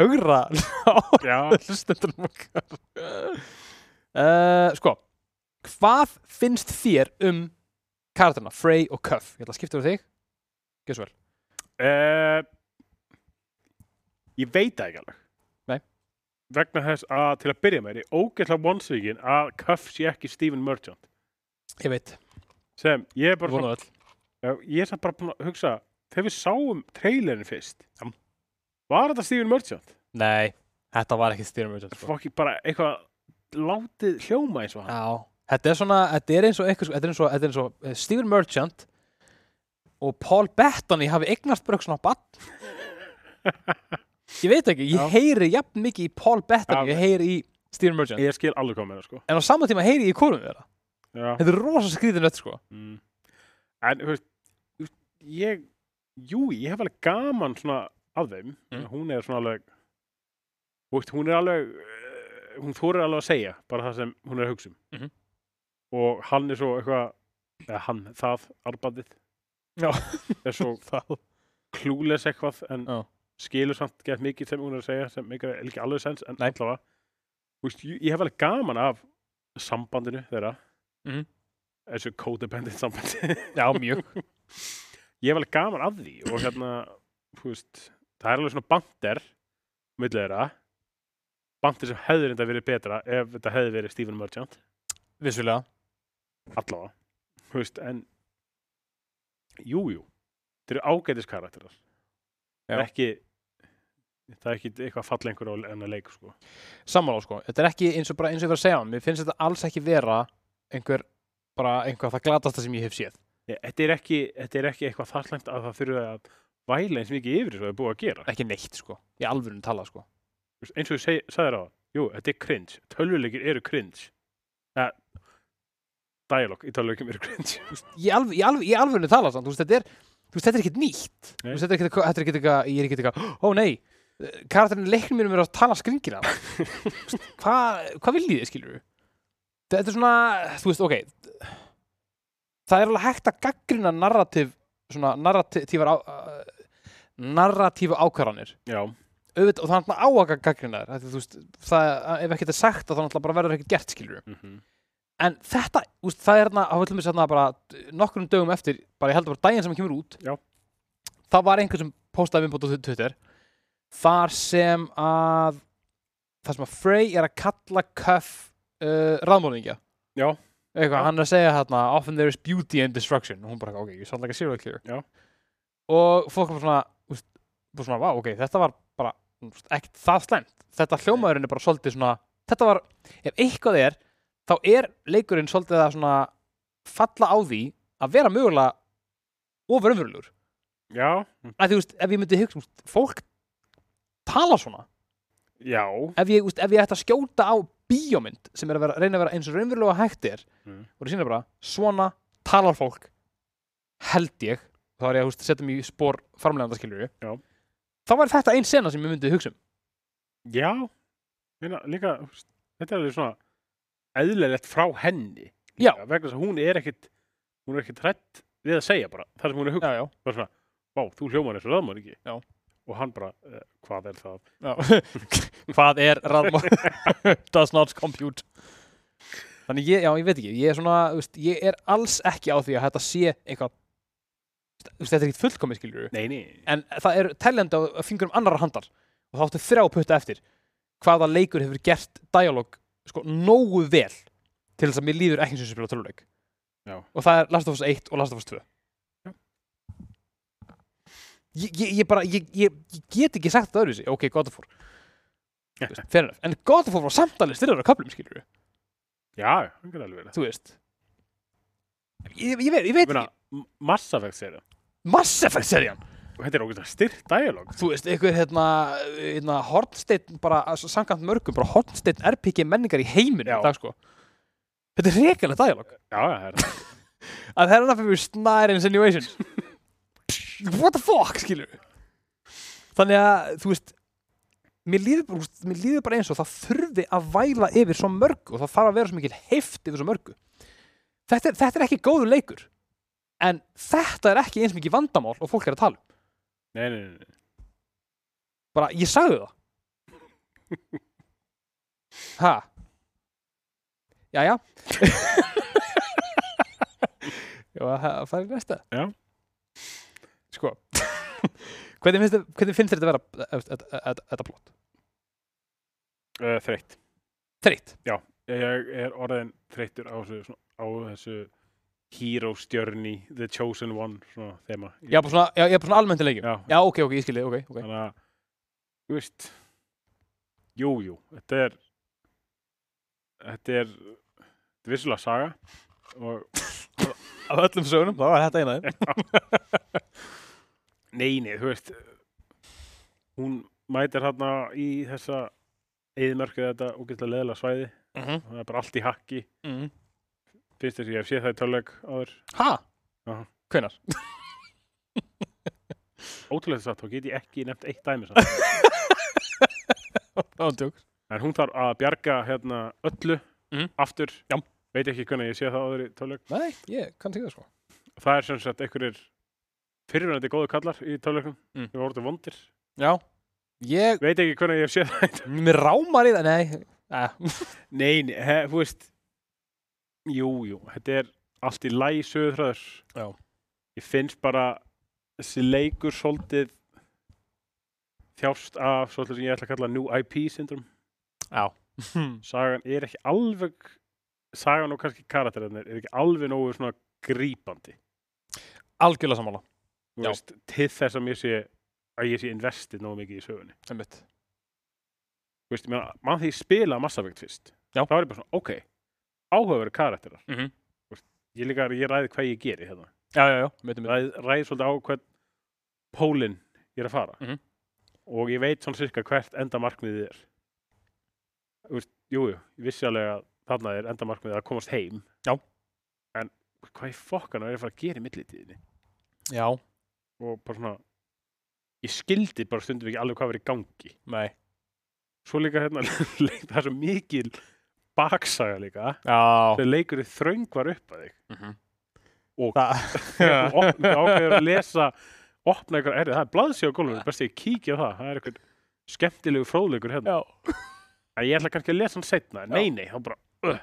augra á
Já,
hlustendunum okkar uh, Sko Hvað finnst þér um karatana, Frey og Cuff? Ég ætla að skipta úr þig Gjörðu svo vel
eh, ég veit það ekki alveg
Nei.
vegna þess að til að byrja með er ég ógeðslega vonsvíkin að Cuff sé ekki Stephen Merchant
Ég veit,
sem ég er bara svona
vonu öll
Já, ég er samt bara búin að hugsa þegar við sáum trailerin fyrst
Já.
var þetta Steven Merchant?
Nei, þetta var ekki styrum auðvitað sko.
Fokki bara eitthvað látið hljóma eins og hann
Já, þetta er svona Þetta er eins og, eitthvað, þetta er eins og, þetta er eins og eh, Steven Merchant og Paul Bettany hafi eignast bara eitthvað svona bann Ég veit ekki, ég
Já.
heyri jafn mikið í Paul Bettany,
Já.
ég heyri í Steven Merchant
ég skil alveg hvað með það sko
en á sama tíma heyri ég í kórum þeirra
Já.
Þetta er rosa skrýðin öll sko
Mm. en þú veist þú veist, ég, jú, ég hef alveg gaman svona að þeim
Mm.
hún er svona alveg þú veist, hún er alveg eh, hún þorir alveg að segja bara það sem hún er að hugsa um
Mhm.
og hann er svo eitthvað eða hann, það, arbandið
Já.
er svo
það
klúles eitthvað en
Já.
skilur samt gett mikið sem hún er að segja sem ekki, ekki alveg sens en
Nei.
allavega Þú veist, ég, ég hef alveg gaman af sambandinu þeirra
Mhm.
þessu codependent sambandi
Já, mjög
ég hef alveg gaman af því og hérna þú veist, það er alveg svona bandir millir þeirra bandir sem hefði reynda verið betra ef þetta hefði verið Stephen Merchant
Vissulega
allavega Þú veist, en jújú, jú. þetta eru ágætis karakterar
Já.
Það er ekki það er ekki eitthvað fall einhver á- en að leik sko.
Sammála sko Þetta er ekki eins og bara eins og ég var að segja hann Mér finnst þetta alls ekki vera einhver bara einhver það glatasta sem ég hef séð
Nei, þetta, er ekki, þetta er ekki eitthvað þarlængt að það þurfi að væla eins mikið yfir svo það er búið að gera
Ekki neitt sko Í alvörunum tala sko
Þú veist, eins og ég sagði á jú, þetta er cringe, tölvuleikir eru cringe eh, dialog í tölvuleikum eru cringe
Í, alv í, alv í alvörunum tala sann Þú veist þetta er Þú veist þetta er ekkert nýtt Þú
Nei.
veist þetta er ekkert Þetta er ekkert eitthvað Ég er ekkert eitthvað Ó nei Karakterinn í leiknum mínum er að tala skringina Hvað hva viljið þið skilur Þetta er svona Þú veist ok Það er alveg hægt að gaggrina narratív svona narratívar á, narratífu ákvarðanir
já,
auðvitað, og það er náttúrulega á að gaggrina þér Þetta er, þú veist, það, ef ekkert er sagt þá er náttúrulega bara verður ekkert gert skilur
mm
en þetta, þú veist, það er hérna á öllum þess að bara nokkrum dögum eftir bara ég held að bara daginn sem hann kemur út
Já.
það var einhvern sem postaði viðbót á Twitter þar sem að þar sem að Frey er að kalla Cuff uh, ráðmóðingja
Já.
eitthvað,
Já.
hann er að segja hérna often there is beauty in destruction og hún bara, ok, you sound like a serial killer
Já.
og fólk var svona, úst, bara svona, vá, ok, þetta var bara úst, ekkert það slæmt, þetta hljómaðurinn er bara svolítið svona, þetta var ef eitthvað er, þá er leikurinn svolítið að svona falla á því að vera mögulega ofurumverulegur,
Já,
að því, úst, ef ég myndi hugsa úst, fólk tala svona
já,
ef ég, úst, ef ég ætti að skjóta á bíómynd sem er að vera, reyna að vera eins og raunverulega hægt er
Mm.
og það sýnir bara, svona talar fólk held ég þá er ég að úst, setja mig í spór farmleganda skilur
Já.
þá var þetta ein sena sem ég myndi hugsa um
já. Meina, líka, þú veist, þetta er alveg svona eðlilegt frá henni.
Já.
Líka, Vegna þess að hún er ekkit, hún er ekkit hrætt við að segja bara það sem hún er að hugsa.
já, já,
Bara svona, vá, þú hljómar eins og raðmór ekki.
Já.
Og hann bara, eh, hvað er það?
hvað er raðmór does not compute þannig ég, já, ég veit ekki ég er svona, úst, ég er alls ekki á því að þetta sé eitthvað úst, þetta er ekki fullkomið skilur
Nei, nei.
en það er teljandi á fingurum annara handar og þá áttu þrjá putta eftir hvaða leikur hefur gert dialog sko nógu vel til þess að mér líður ekki sem sem spila töluleik
Já.
og það er Last of Us 1 og Last of Us 2
Já.
ég, ég, ég bara ég, ég, ég get ekki sagt þetta öðruvísi ok, God of War Þú veist, fair enough. en God of War var samtalið styrður á köflum skilur
Já, hann kan alveg verið.
þú veist ég, ég, veit, ég veit
Meina,
ekki
m- massafegt segir það.
Mass Effect serían
Og þetta er okkur styrt dialog.
þú veist, einhver hérna, hérna hornsteinn, bara að- samkvæmt mörgum bara hornsteinn RPG menningar í heiminu
Já.
í dag, sko. þetta er rekalegt dialog
Já, já, það er það.
að það er enough of you snare insinuations what the fuck, skilur þannig að, þú veist mér líður, bara- þú veist, mér líður bara eins og það þurfi að væla yfir svo mörgu og það þarf að vera svo mikil heift yfir svo mörgu þetta er, þetta er ekki góður leikur en þetta er ekki eins mikið vandamál og fólk er að tala um
Nei, nei, nei, nei.
bara, ég sagði það ha jæja já, það fara í næsta
Já.
sko hvernig finnst, þér- hvernig finnst þér þetta vera eh, þetta- þetta þetta plott?
Uh, þreytt.
þreytt,
ég er orðin þreyttur á þessu, svona, á þessu hero stjörni, the chosen one svona þema
ég er bara svona, já, ég er bara svona almennt í leikjum
Já,
já, ok, ok, ég skilji, ok, ok
þannig að þú veist jú, jú, þetta er þetta er þetta er vissulega saga og
af öllum sögunum, þá var þetta einað
neini, þú veist hún mætir hérna í þessa eðmörkið þetta ógeðslega leðilega svæði
mm -hmm.
það er bara allt í hakki
mm.
fyrst þess að ég hef séð það í töluleik áður
ha,
Já.
hvenar
ótrúlega þess að þá get ég ekki nefnt eitt dæmi samt
ándjóks,
en hún þarf að bjarga hérna öllu
Mhm.
aftur
Já.
veit ekki hvernig ég sé það áður í tölug
nei, ég kann til það sko
það er sem sagt einhverjir fyrirvændi góðu kallar í tölugum
Mm.
sem voru vondir
já, ég
veit ekki hvernig ég sé það í töluleiknum.
mér rámar í það, nei eh,
nei, nei, he, þú veist jú, jú, þetta er allt í læg sögurþröður
Já.
ég finnst bara þessi leikur svolítið þjást af svolítið sem ég ætla að kalla New IP syndrom
Já
sagan er ekki alveg sagan og kannski karakterinir er ekki alveg nógu svona grípandi
Algjörlega sammála
Þú
Já.
veist, til þess að mér sé að ég sé investið nógu mikið í sögunni
Einmitt.
Þú veist, ég meina, mann því ég spila massafegt fyrst
Já.
þá er ég bara svona, ok, áhugaveru karakterar
Mhm.
Þú veist, ég líka, ég ræði hvað ég geri hérna.
Já, já, já Meitum við
ræði, ræði svolítið á hvern pólinn ég er að fara
Mhm.
og ég veit svona cirka hvert endamarkmiðið er Þú veist, jú, jú, ég vissi alveg að þarna er endamarkmiðið að komast heim
Já.
en hvað í fokkanum er ég að fara að gera í millitíðinni
Já,
og bara svona ég skildi bara stundum ekki alveg hvað verið í gangi
nei
svo líka hérna leik, það er svo mikil baksaga líka
Já
þegar leikur er þröngvar upp að þig Og- þegar þú
Mhm. Það
opn- þú ákveður að lesa opna ykkur erði, það er blaðsíð á gólfinu best að ég kíkja á það, það er eitthvað skemmtilegu fróðleikur hérna
Já
en ég ætla kannski að lesa hann setna,
Já.
nei nei þá bara, uh,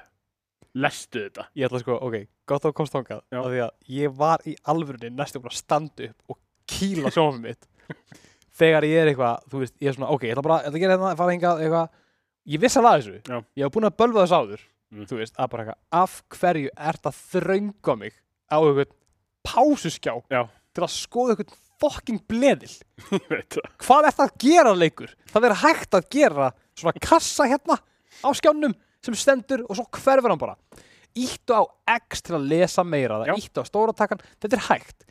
lestu þetta
Ég ætla sko, ok Gott að þú komst þangað
Já.
af Því að ég var í alvörunni næstum bara að standa upp og kýla sjónfum mitt Þegar ég er eitthvað Þú veist, ég er svona, ok, ég ætla bara Ég ætla að gera hérna, fara hingað eitthvað Ég vissi alveg að þessu
Já.
Ég hef búin að bölva þess áður
Mm.
þú veist, að bara eitthvað af hverju ert að þrönga mig á einhvern pásuskjá
Já.
til að skoða einhvern fokking bleðil
ég veit það
hvað er það að gera leikur? Það er hægt að gera svona kassa hérna á skjánum sem stendur og svo hverfur hann bara. Íttu á X til að lesa meira,
Já.
það íttu á stóra takkan, þetta er hægt.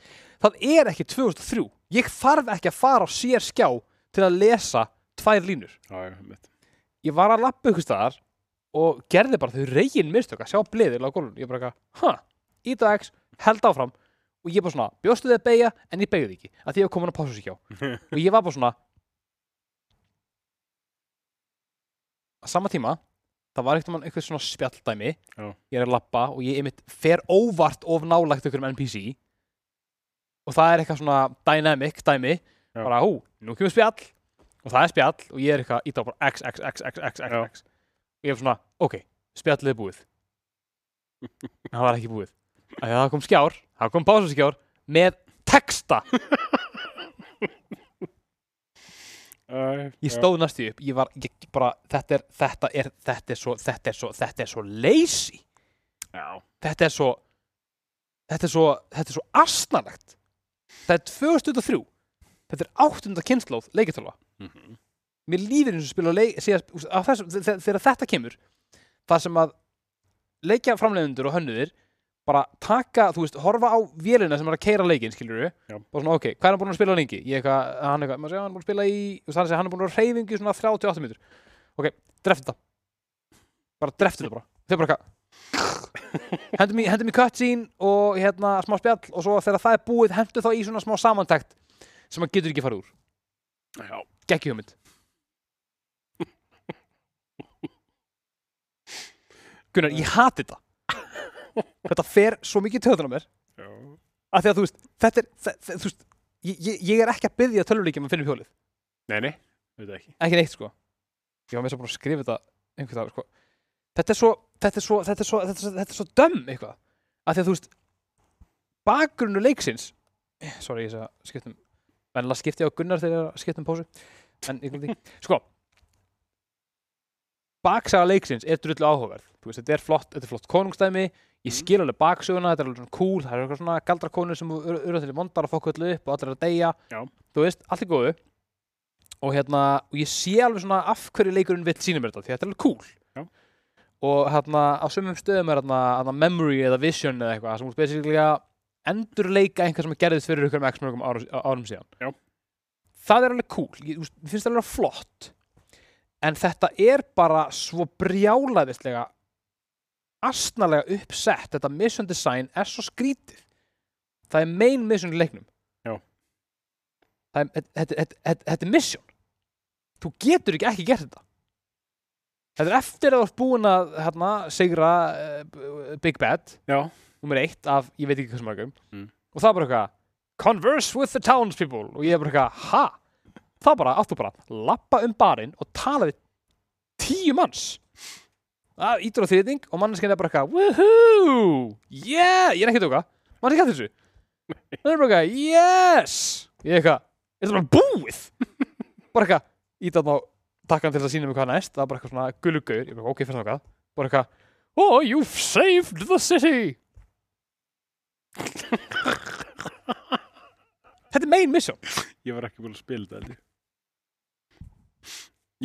Það er ekki 2003. Ég þarf ekki að fara á sér skjá til að lesa tvær línur.
já, ég veit
Ég var að lappa ykkur staðar og gerði bara þau reygin mistök að sjá bleðil á gólun. Ég bara ekki að, hæ, íttu á X, held áfram og ég bara svona, bjóstu þið að beigja en ég beigði ekki, að því ég var komin að pásu sér og ég var bara svona á sama tíma það var eitthvað, eitthvað svona spjalldæmi
Já.
ég er að lappa og ég einmitt fer óvart of nálægt ykkur um NPC og það er eitthvað svona dynamic dæmi
Já.
bara hú, nú kemur spjall og það er spjall og ég er eitthvað ít á bara x, x, x, x, x, x,
Já.
x og ég er svona, ok, spjallið er búið en það var ekki búið að það kom skjár, það kom pásuskjár með texta
Æ,
Ég
já.
stóð næstu upp, ég var, ég bara, þetta er, þetta er, þetta er svo, þetta er svo, þetta er svo lazy,
já,
þetta er svo, þetta er svo, þetta er svo asnalegt. Það er 2003, þetta er áttunda kynnslóð leikjartölva.
Mhm.
Mér líður eins og spila leik, síðan, úst, á þessu, þe- þe- þegar þetta kemur, það sem að leikja framleiðundur og hönnuðir bara taka, þú veist, horfa á vélina sem er að keira leikinn, skilur við,
Já.
og svona, ok, hvað er hann búin að spila lengi? Ég eitthvað, hann eitthvað, maður sé, hann er búin að spila í, þú veist, hann segir, hann er búin að reyfingu í svona 38 mínútur. Ok, dreftu þetta. Bara dreftu þetta bara. Þau bara eitthvað, hendum í, hendum í cutscene og hérna smá spjall og svo þegar það er búið, hendum þá í svona smá samantækt sem maður getur ekki farið úr.
já,
Gekki hugmynd. Gunnar, ég hati þetta. Þetta fer svo mikið töðan á mér
já
að því að þú veist, þetta er þe- þe- þú veist, ég, ég- ég er ekki að byggja tölvuleikjum að finna upp hjólið,
nei, nei, veit það ekki
ekki neitt sko ég var með þess að bara að skrifa þetta einhvern dag sko. þetta er svo þetta er svo, þetta er svo, þetta er svo, þetta er svo döm eitthvað, að því að þú veist bakgrunnu leiksins Eh, sorry, ég sé að skiptum venlega skipti ég á Gunnar þegar ég er að skiptum pásu en ég glemdi, því. sko baksaga leiksins er drullu áhugaverð, þú veist, þetta er flott þetta er flott konungstæmi,
Mhm.
ég skil alveg baksöguna þetta er alveg svona cool, það eru eitthvað svona galdrakonur sem eru til í mondar að fokka öllu upp og allir eru að deyja,
Já.
þú veist, allt í góðu og hérna, og ég sé alveg svona af hverju leikurinn vill sýna mér þetta, því þetta er alveg cool
Já.
og hérna, á sumum stöðum er hérna, hérna memory eða vision eða eitthvað sem úr basically að endurleika einhvað sem gerðist fyrir ykkur með x mörgum árum, árum síðan
Já.
það er alveg cool, ég þú veist, mér finnst það alveg flott en þetta er bara svo brjálaðislega astnalega uppsett þetta mission design er svo skrítið það er main mission í leiknum
Já.
það er, þetta- þetta- þetta- þetta þetta er mission þú getur ekki ekki gert þetta þetta er eftir að þú ert búin að hérna, sigra uh, Big Bad
já,
nummer eitt af, ég veit ekki hvað sem margum
Mm.
og það er bara eitthvað converse with the townspeople og ég er bara eitthvað, ha? það bara, áttu bara, lappa um barinn og tala við tíu manns það ítur á þýðing og manneskinn er bara eitthvað woohoo, yeah, ég er ekki að tóka manneskinn að þessu það er bara eitthvað, yes ég er eitthvað, er það bara búið bara eitthvað, ítur á takkan til þess að sína mig hvað næst, það er bara eitthvað svona gulugaur, ég er bara ok, fyrir þangað bara eitthvað, oh, you've saved the city Þetta er main mission
ég var ekki búin að spila þetta held ég.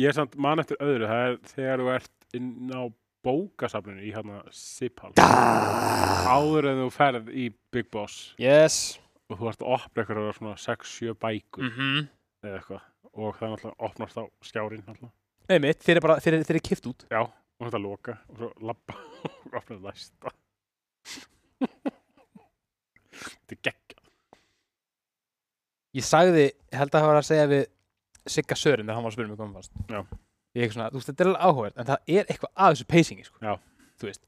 ég er samt mann eftir öðru það er þegar þú ert inn á bókasafninu í hérna Sipal áður en þú ferð í Big Boss
Yes
og þú ert að opna eitthvað svona 6-7 bækur
-hmm.
eða eitthvað og það er náttúrulega opnast á skjárin náttúrulega.
Nei mitt, þeir eru bara, þeir eru, þeir eru kipt út
já, og þetta loka og svo labba og opna næsta þetta er geggja
Ég sagði, ég held að hafa verið að segja við Sigga Sörin þegar hann var að spyrja mig komið fast
Já.
Ég er ekki svona, þú veist, þetta er alveg áhugavert en það er eitthvað að þessu pacingi sko.
Já.
Þú veist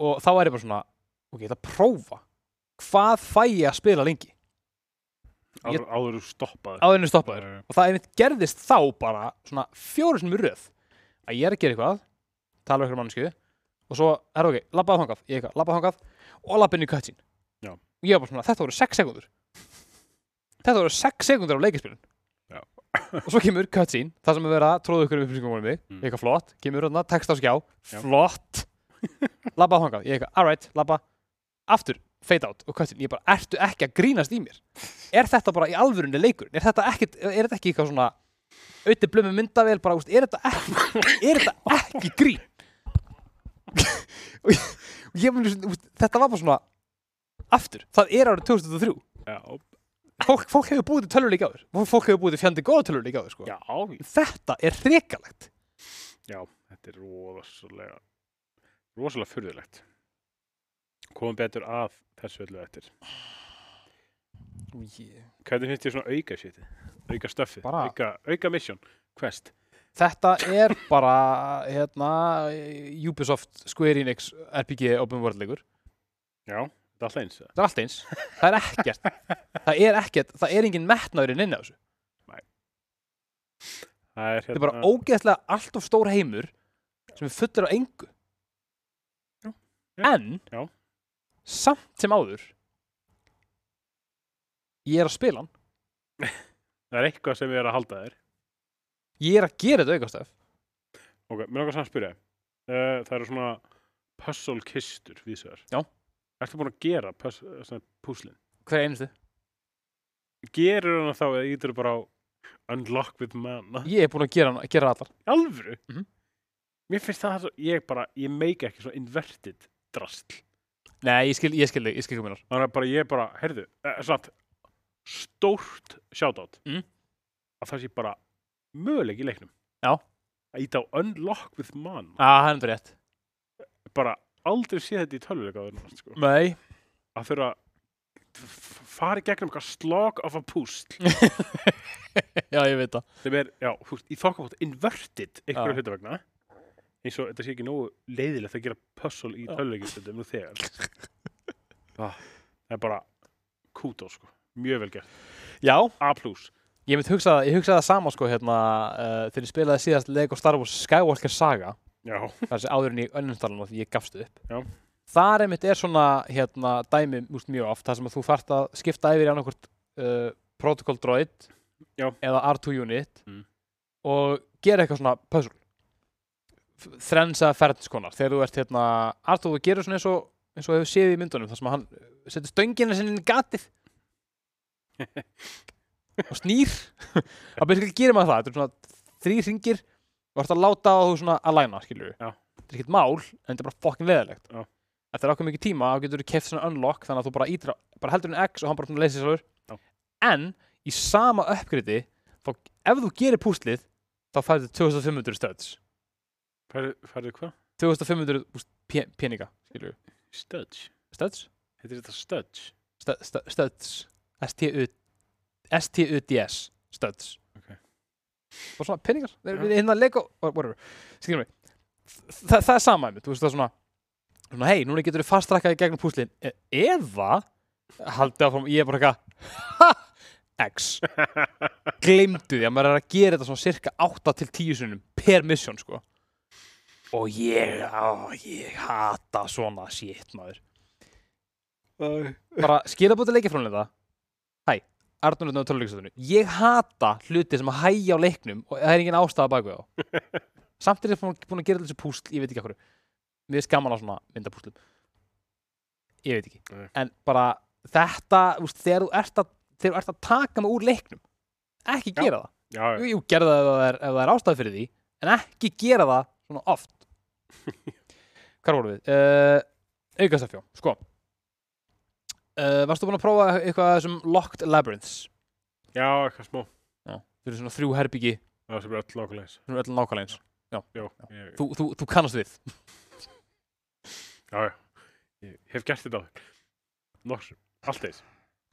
Og þá er ég bara svona, ok, ég ætla að prófa Hvað fæ ég að spila lengi?
áður, áður þú Eh, stoppaði
Áður en við stoppaður og það einmitt gerðist þá bara svona fjóru sem í röð að ég er að gera eitthvað tala við ykkur mannsku og svo er ok, labbaðu þangað, ég eitthvað, labbaðu þangað og labba inn í cutscene
Já.
og ég var bara svona, þetta voru 6 sekundur þetta voru 6 sekundur af leikispilun
Já.
og svo kemur cutscene það sem er verið að tróða ykkur um upplýsingum um mig,
Mm.
eitthvað flott kemur hérna text á skjá,
Já.
flott labba þangað, ég eitthvað, alright, labba aftur, fade out og köttin, ég bara, ertu ekki að grínast í mér er þetta bara í alvörunni leikur er þetta ekki, er þetta ekki eitthvað svona auðvitað blömmu myndavél, bara, úst, er þetta ekki er þetta ekki grín og ég, og ég meni, úst, þetta var bara svona aftur, það er árið 2003
Já,
fólk, fólk hefur búið til tölvur líka áður Fólk- fólk hefur búið til fjandi góða tölvur líka áður sko.
já,
þetta er hrikalegt
já, þetta er rosalega, rosalega furðulegt. Komum betur að þessu öllu eftir. Hvernig finnst þér svona auka shitið? Auka stöffið?
Bara-
Auka, auka mission? Quest?
þetta er bara hérna, Ubisoft Square Enix RPG open world leikur
Já, þetta er alltaf eins. eða?
það er allt eins, það er ekkert það er ekkert, það er engin metnaðurinn inn á þessu
Það er
þetta
hérna...
er bara ógeðslega allt of stór heimur sem er fullur af engu
Já, já,
en
já.
samt sem áður ég er að spila hann
Það er eitthvað sem við erum að halda þér.
ég er að gera þetta aukastöf
Ok, mér langar samt að spyrja. Uh, það eru svona puzzle kistur, vísar.
Já.
Ertu búin að gera puzzle, svona púslin?
hver einustu,
Gerur hana þá eða ítur bara á unlock with mana?
ég er búin að gera, hann- gera allar
Í alvöru?
Mhm.
Mér finnst það svo, ég bara, ég meika ekki svona inverted drastl.
nei, ég skil, ég skil, þig, ég skil kominar
Þannig að bara ég bara, heyrðu, eh, svona stórt shoutout
Mm.
að það sé bara möguleik í leiknum.
Já.
Að íta á unlock with mana.
að það Ah, er enda rétt
Bara aldrei sé þetta í tölvuleika áður núna, sko.
nei,
að þurfa að f- fara í gegnum eitthvað slog of a púsl
já ég veit það
sem er, já, húst, í þokkabótt inverted einhverju
Já.
hluta vegna eins og þetta sé ekki nógu leiðilegt að gera puzzle í
Já.
töluleikjastundum nú þegar ah, það er bara kútó, sko, mjög vel gert
já,
A plus,
ég mynd hugsa, ég hugsa það sama sko hérna uh, þegar ég spilaði síðast Lego Star Wars Skywalker Saga
já,
þar sem áður en í önnunstalunum því ég gafst upp
Já.
þar einmitt er svona hérna, dæmi úst, mjög oft þar sem að þú þarft að skipta yfir í annarkvort uh, protocol droid
Já.
eða R2 unit
Mm.
og gera eitthvað svona puzzle F- þrensa ferðskonar þegar þú ert hérna R2 þú gerir svona eins og eins og hefur séð í myndunum þar sem að hann uh, setur stöngina sinni inn í gatið og snýr að byrja gerir maður það þetta er svona þrý ringir og ert að láta á þú svona að læna skilur
Já.
þetta er ekkert mál, en þetta er bara fokkin leðilegt
Já.
eftir ákveð mikið tíma þá getur þú keft svona unlock þannig að þú bara ítir á, bara heldur hún X og hann bara svona leysir sjálfur
Já.
en í sama uppgriði þá ef þú gerir púslið þá færðu 2500 stöðs
færðu, færðu hvað?
2500 púst- pe- peninga skilur
Studge,
stöðs
heitir þetta Studge?
stöðs STU STUDS stöðs
Ok.
bara svona peningar þeir
Já.
eru hérna Lego whatever skilur mig Þa, það er sama einmitt þú veist það er svona svona hei núna getur þú fastrakkaði gegnum púslin e eða haldið áfram ég er bara eitthvað "Ha, X gleymdu því að maður er að gera þetta svona cirka 8 til 10 sunnum per mission sko og ég á, ég hata svona shit maður bara skilabóta leikjafránleita Hæ, Arnur Nöðn og Töluleikastöðinu Ég hata hluti sem að hægja á leiknum og það er engin ástæða baku þá Samt er ég búin búin að gera þessu púsl ég veit ekki okkur Mér er skaman á svona myndapúslum Ég veit ekki
Nei.
En bara þetta, úst, þegar þú ert að þegar þú ert að taka mig úr leiknum ekki
Já.
gera það
Já, já,
Jú, jú, gera það ef það er, ef það er ástæða fyrir því en ekki gera það svona oft Hvar vorum við? Uh, Aukastafjó, sko uh, Varstu búin að prófa eitthvað af þessum Locked Labyrinths
já, eitthvað smó
Þau eru svona þrjú herbyggi,
það sem er öll lokulegs
þau eru öll nákvæmlega eins
já, ég,
þú, þú, þú kannast við
já, já, ég hef gert þetta nokkur, allt eins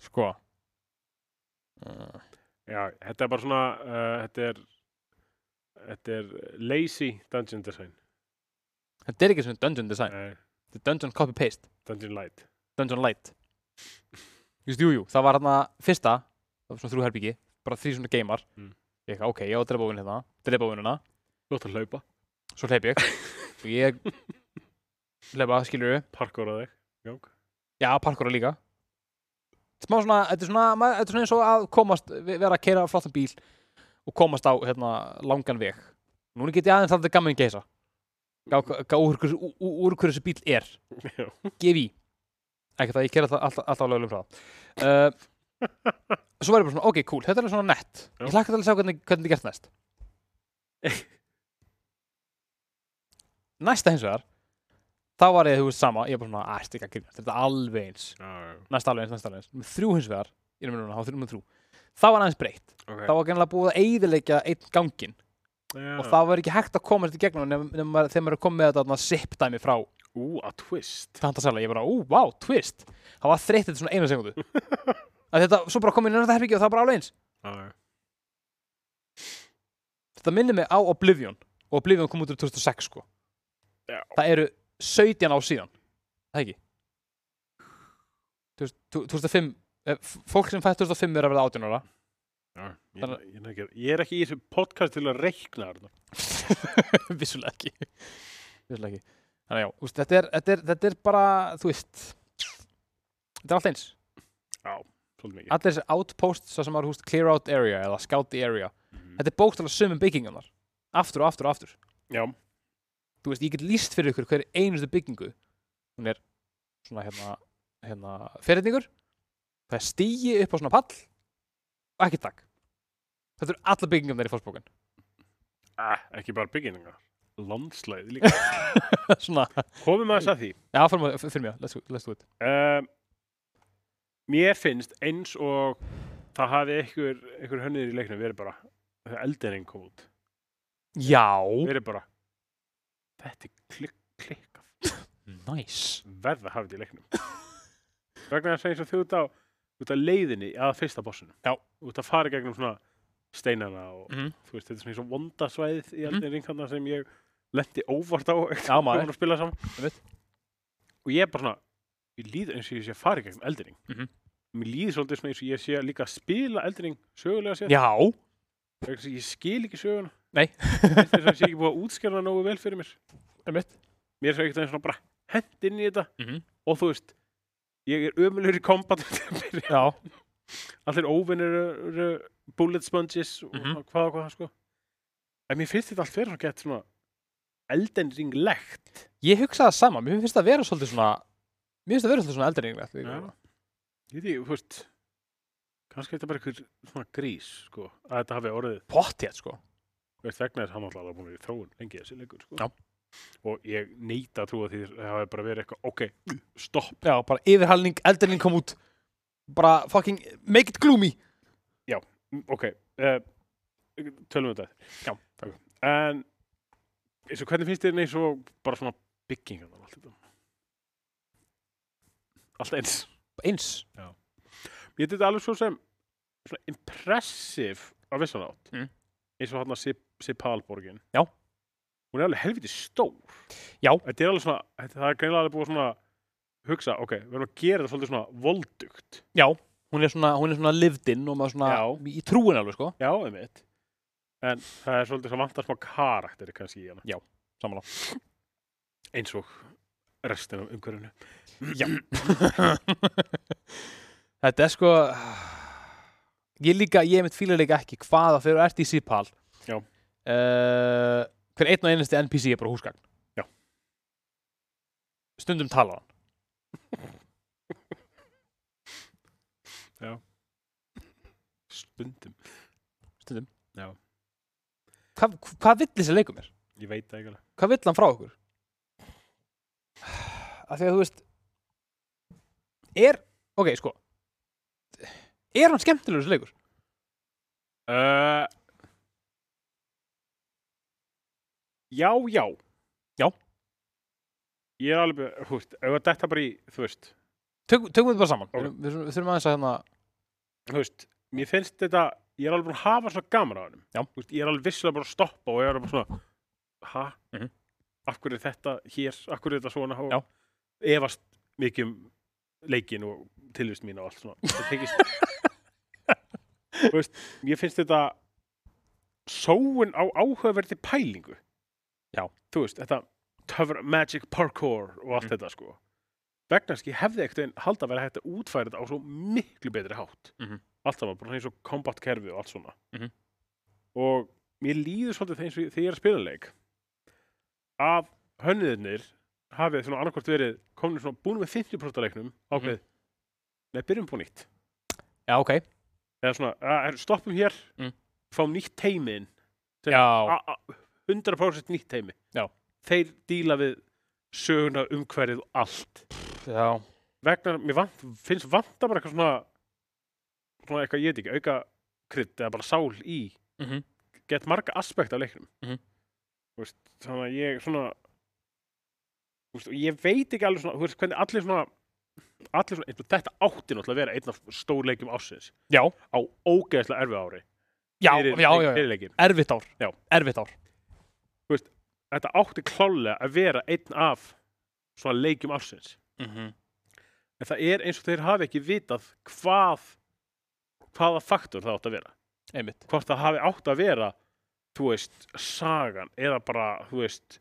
Sko uh,
Já, þetta er bara svona uh, þetta er þetta er lazy dungeon design
Þetta er ekki svona dungeon design
Nei,
Þetta er dungeon copy-paste,
dungeon light
dungeon light Just, Jú, jú, það var hérna fyrsta það var svona þrjú herbyggi, bara þrjú svona geimar
Mm.
Ég eitthvað, ok, ég á að drepa ofinn hérna drepa ofinn hérna
Þú ætti að hlaupa,
svo hleyp ég og ég hleypa, skilur við
parkour á þig Jók.
já, parkura líka smá svona, þetta er svona, maður- þetta er svona eins og að komast, ve- vera að keira flottan bíl og komast á hérna, langan veg núna get ég aðeins alltaf gaman geisa Já, hva- hva- úr hverju- ú- ú- úr hverju þessi bíl er
Já.
gef í ekkert að ég gera það alltaf, alltaf á lögulegum hraða uh, svo var ég bara svona, ok, cool, þetta er alveg svona nett
Já.
ég hlakka til að sjá hvernig, hvernig þetta er gert næst næsta hins vegar þá var ég, þú veist, sama ég var bara svona, að, þetta er ekki að grínast, þetta er alveg eins
Já,
næsta alveg eins, næsta alveg eins, með þrjú hins vegar ég er með núna, þá þrjú með þrjú það var aðeins breytt,
ok.
þá var gennilega búið að eyðileggja einn gangin
Já.
og það var ekki hægt að komast í gegnum nema, nema maður- þegar maður er komið með þetta þarna zip dæmi frá
Ú, að twist.
tantasala, ég bara, ú, vá, twist það var þreytt þetta svona eina sekundu að þetta, svo bara kom ég nærða herbyggi og það var bara alveg eins
Já, já.
þetta minnir mig á Oblivion og Oblivion kom út úr 2006 sko
Já.
það eru 17 ár síðan það ekki 2000 2005 eh, f- fólk sem fætt 2005 er að verða 18 ára
Já, ég,
Þannig-
ég, ég, ég er ekki í þessu podcast til að reikna þarna.
vissulega ekki vissulega ekki þannig já, úst, þetta, er, þetta, er, þetta er bara, þú veist þetta er allt eins
Svolítið mikið.
allir þessi outposts það sem var húst clear out area eða scout the area
Mhm.
þetta er bókstala sömum byggingarnar aftur og aftur og aftur
Já,
þú veist, ég get líst fyrir ykkur hver einustu byggingu hún er svona hérna, hérna ferðningur það er stígi upp á svona pall og ekki takk þetta eru alla byggingarnar í fórsbókun
ah, ekki bara bygginninga. Landslæði líka.
svona,
Komum aðeins að því.
já, fyrir mig, fyrir mig let's, let's do it
Um, mér finnst eins og það hafi einhver, einhver hönnir í leiknum verið bara þegar eldinning kom út.
já,
Verið bara þetta er klik, klikkað.
nice
Verða hafið þetta í leiknum. Vegna þess að eins og þú ert á, út af leiðinni að fyrsta bossunum.
Já.
Út að fara í gegnum svona steinana og
mm.
þú veist, þetta er svona eins og vondasvæðið í
Mhm.
aldrei mm. þarna sem ég lendi óvart á
já,
þegar
maður
að spila saman
Einmitt.
og ég er bara svona ég líð eins og ég sé að fara í gegnum eldring
Mhm.
mér líður svolítið svona eins og ég sé að líka að spila eldring sögulega sér
já,
vegna þess að ég skil ekki söguna
Nei.
þess að ég sé ekki búið að útskjara það nógu vel fyrir mér
er mitt
mér er svo ekkert einn svona bara hent inn í þetta
Mhm.
og þú veist ég er ömulegur í kombat
já,
allir óvinnir eru bullet sponges og
Mhm.
hvað og hvað sko. en mér finnst þetta allt verið svona gett svona eldenringlegt
ég hugsa það sama mér finnst það vera svolítið svona mér finnst það vera svolítið svona
Já.
eldreininglegt
ég veit ekki, þú veist kannski er þetta bara einhver svona grís sko, að þetta hafi orðið
pottið, sko
Þú veist, vegna þess að hann alltaf er búin í þróun lengi þessi leikur sko.
Já.
og ég neita að trúa því að það hafi bara verið eitthvað ok, stopp
Já, bara yfirhalning, eldurinn kom út Bara fucking make it gloomy
ok, uh, tölum við þetta
Já.
okay. en eins og hvernig finnst þér neins og bara svona byggingan og allt þetta allt eins
Eins
ég þetta alveg svo sem svona impressive á vissan átt
Mm.
eins og hann að Sipalborgin
Já.
hún er alveg helviti stór
Já.
þetta er alveg svona, þetta, það er greinlega alveg búið að svona hugsa, ok, við erum að gera þetta svolítið svona voldugt
Já, hún er svona, hún er svona lived in og maður svona
Já.
í trúin alveg sko
já, einmitt en það er svolítið svona vantar smá karakter kannski í hana
Samanlá
eins og restin af umhverfinu
Já Þetta er sko Ég líka, ég mitt fíla líka ekki hvaða fyrir ert í sípal
Já.
Eh, Hver einn og einasti NPC er bara húsgagn
Já.
Stundum tala hann
stundum,
Stundum
Já.
Hvað, hvað vill þessi leikum er?
ég veit það ekki alveg
hvað vill hann frá okkur? Af því að þú veist er, ok, sko er hann skemmtilegur þessu leikur?
Uh, já, já.
Já.
Ég er alveg, þú veist, ef að þetta bara í, þú veist,
Tök, tökum við þetta bara saman,
Ok.
okay. við, við þurfum aðeins að hérna,
þú veist, mér finnst þetta, ég er alveg búin að hafa svona gaman á hennum.
Já.
Þú veist, ég er alveg vissulega bara að stoppa og ég er alveg bara svona, ha?
Mhm.
Af hverju er þetta hér, af hverju er þetta svona? og
Já.
Efast mikið um leikin og tilvist mín og allt svona. Það tekist, þú veist, mér finnst þetta sóun á áhugaverði pælingu.
Já.
Þú veist, þetta töfra magic parkour og allt
Mhm.
þetta sko. Vegna þess að ég hefði ekkert einn halda að vera hægt að útfæra þetta á svo miklu betri hátt allt saman, bara eins og combat kerfi og allt svona
Mhm.
og mér líður svolítið þegar, þegar ég er að spila leik að hönniðirnir hafið svona annarkvort verið komnir svona búin með 50% af leiknum
Mhm.
ákveð, nei, byrjum på nýtt
Já, ok.
eða svona, að, er- stoppum hér
Mm.
fáum nýtt teimin Þeir-
Já,
100% nýtt teimi
Já.
þeir díla við söguna umhverfið og allt
já.
vegna, mér vant, finnst vanta bara eitthvað svona svona eitthvað, ég veit ekki, auka krydd eða bara sál í
mhm.
gett marga aspekt af leiknum
Mhm.
Þú veist, þannig að ég svona þú veist, og ég veit ekki alveg svona þú veist, hvernig allir svona allir svona, einhver, þetta átti náttúrulega að vera einn af stórleikjum ásins
Já,
á ógeðslega erfið ári
já,
fyrir,
já, já, já.
fyrir leikinn.
Erfitt ár.
Já.
Erfitt ár.
þetta átti klálega að vera einn af svona leikjum ásins
Mhm.
en það er eins og þeir hafi ekki vitað hvað hvaða faktor það átti að vera
Einmitt.
hvort það hafi átt að vera þú veist, sagan eða bara, þú veist,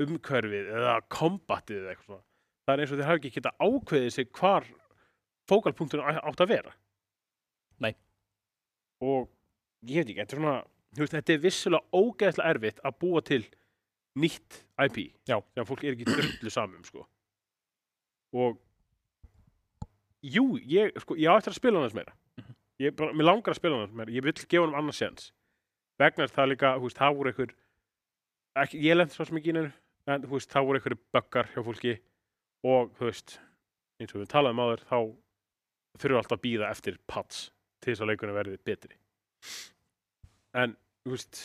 umhverfið eða kombatið eða eitthvað svona. það er eins og þeir hafi ekki geta ákveðið sig hvar fókalpunkturinn átt að vera
Nei.
og ég veit ekki, þetta er svona þú veist, þetta er vissulega ógeðslega erfitt að búa til nýtt IP
Já.
sem fólk er ekki drullu samum sko. og jú, ég, sko, ég á eftir að spila hann þess meira ég bara, mér langar að spila hann mér, ég vil gefa hann annars séns vegna þess það líka, hú veist, það voru einhver ekki, ég lent svo sem ekki innur en hú veist, það voru einhverju böggar hjá fólki og hú veist eins og við talaðum áður, þá þurfum við alltaf að býða eftir pats til þess að leikunum verði betri en, hú veist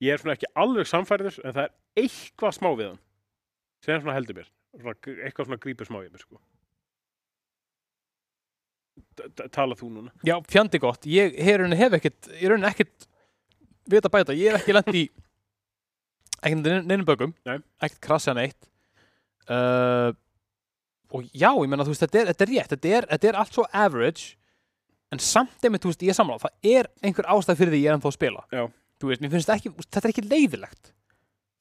ég er svona ekki alveg samfærður en það er eitthvað smá við hann sem svona heldur mér svona, eitthvað svona grípur smá í mér sko D- d- tala þú núna
Já, fjandi gott. Ég hef, rauninni- hef ekkit, ég raunin ekkit vita bæta. Ég hef ekki lent í ekkit neinn- neinum bögum.
Nei.
Ekkit krasja neitt. Uh, og já, ég menna, þú veist, þetta er, þetta er rétt. Þetta er, þetta er allt svo average. En samt einmitt, þú veist, ég er sammála. Það er einhver ástæð fyrir því ég er ennþá að spila.
Já.
Þú veist, mér finnst þetta ekki, þetta er ekki leiðilegt.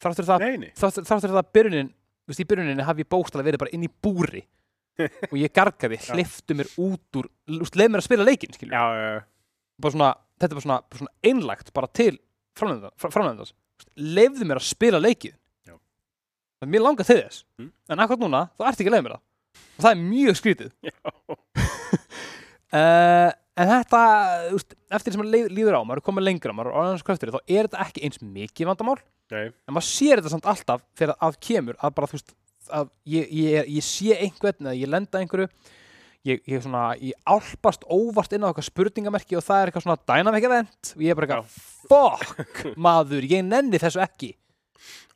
Þráttur það
Nei, nei,
þáttur þáttur það að byrjunin þú veist, í byrjuninni haf ég bókstala verið bara inn í búri og ég gargaði,
Já.
hliftu mér út úr þú veist, leið mér að spila leikinn, skilju
já, já, já.
bara svona, þetta er bara svona, bara svona einlægt bara til framlegandans leifðu mér að spila leikið
Já.
það er mér langar til þess
Mm.
en akkurat núna, þú ert ekki að leið mér það og það er mjög skrítið
já.
uh, en þetta, þú veist, eftir sem maður leið- líður á maður er komið lengra, maður er orðans kröftur þá er þetta ekki eins mikið vandamál
Nei.
en maður sér þetta samt alltaf þegar að kemur að bara þú veist að ég, ég, er, ég sé einhvern eða ég lenda einhverju ég, ég, svona, ég álpast óvart inn á eitthvað spurningamerki og það er eitthvað svona dynamic event og ég er bara eitthvað fuck maður, ég nenni þessu ekki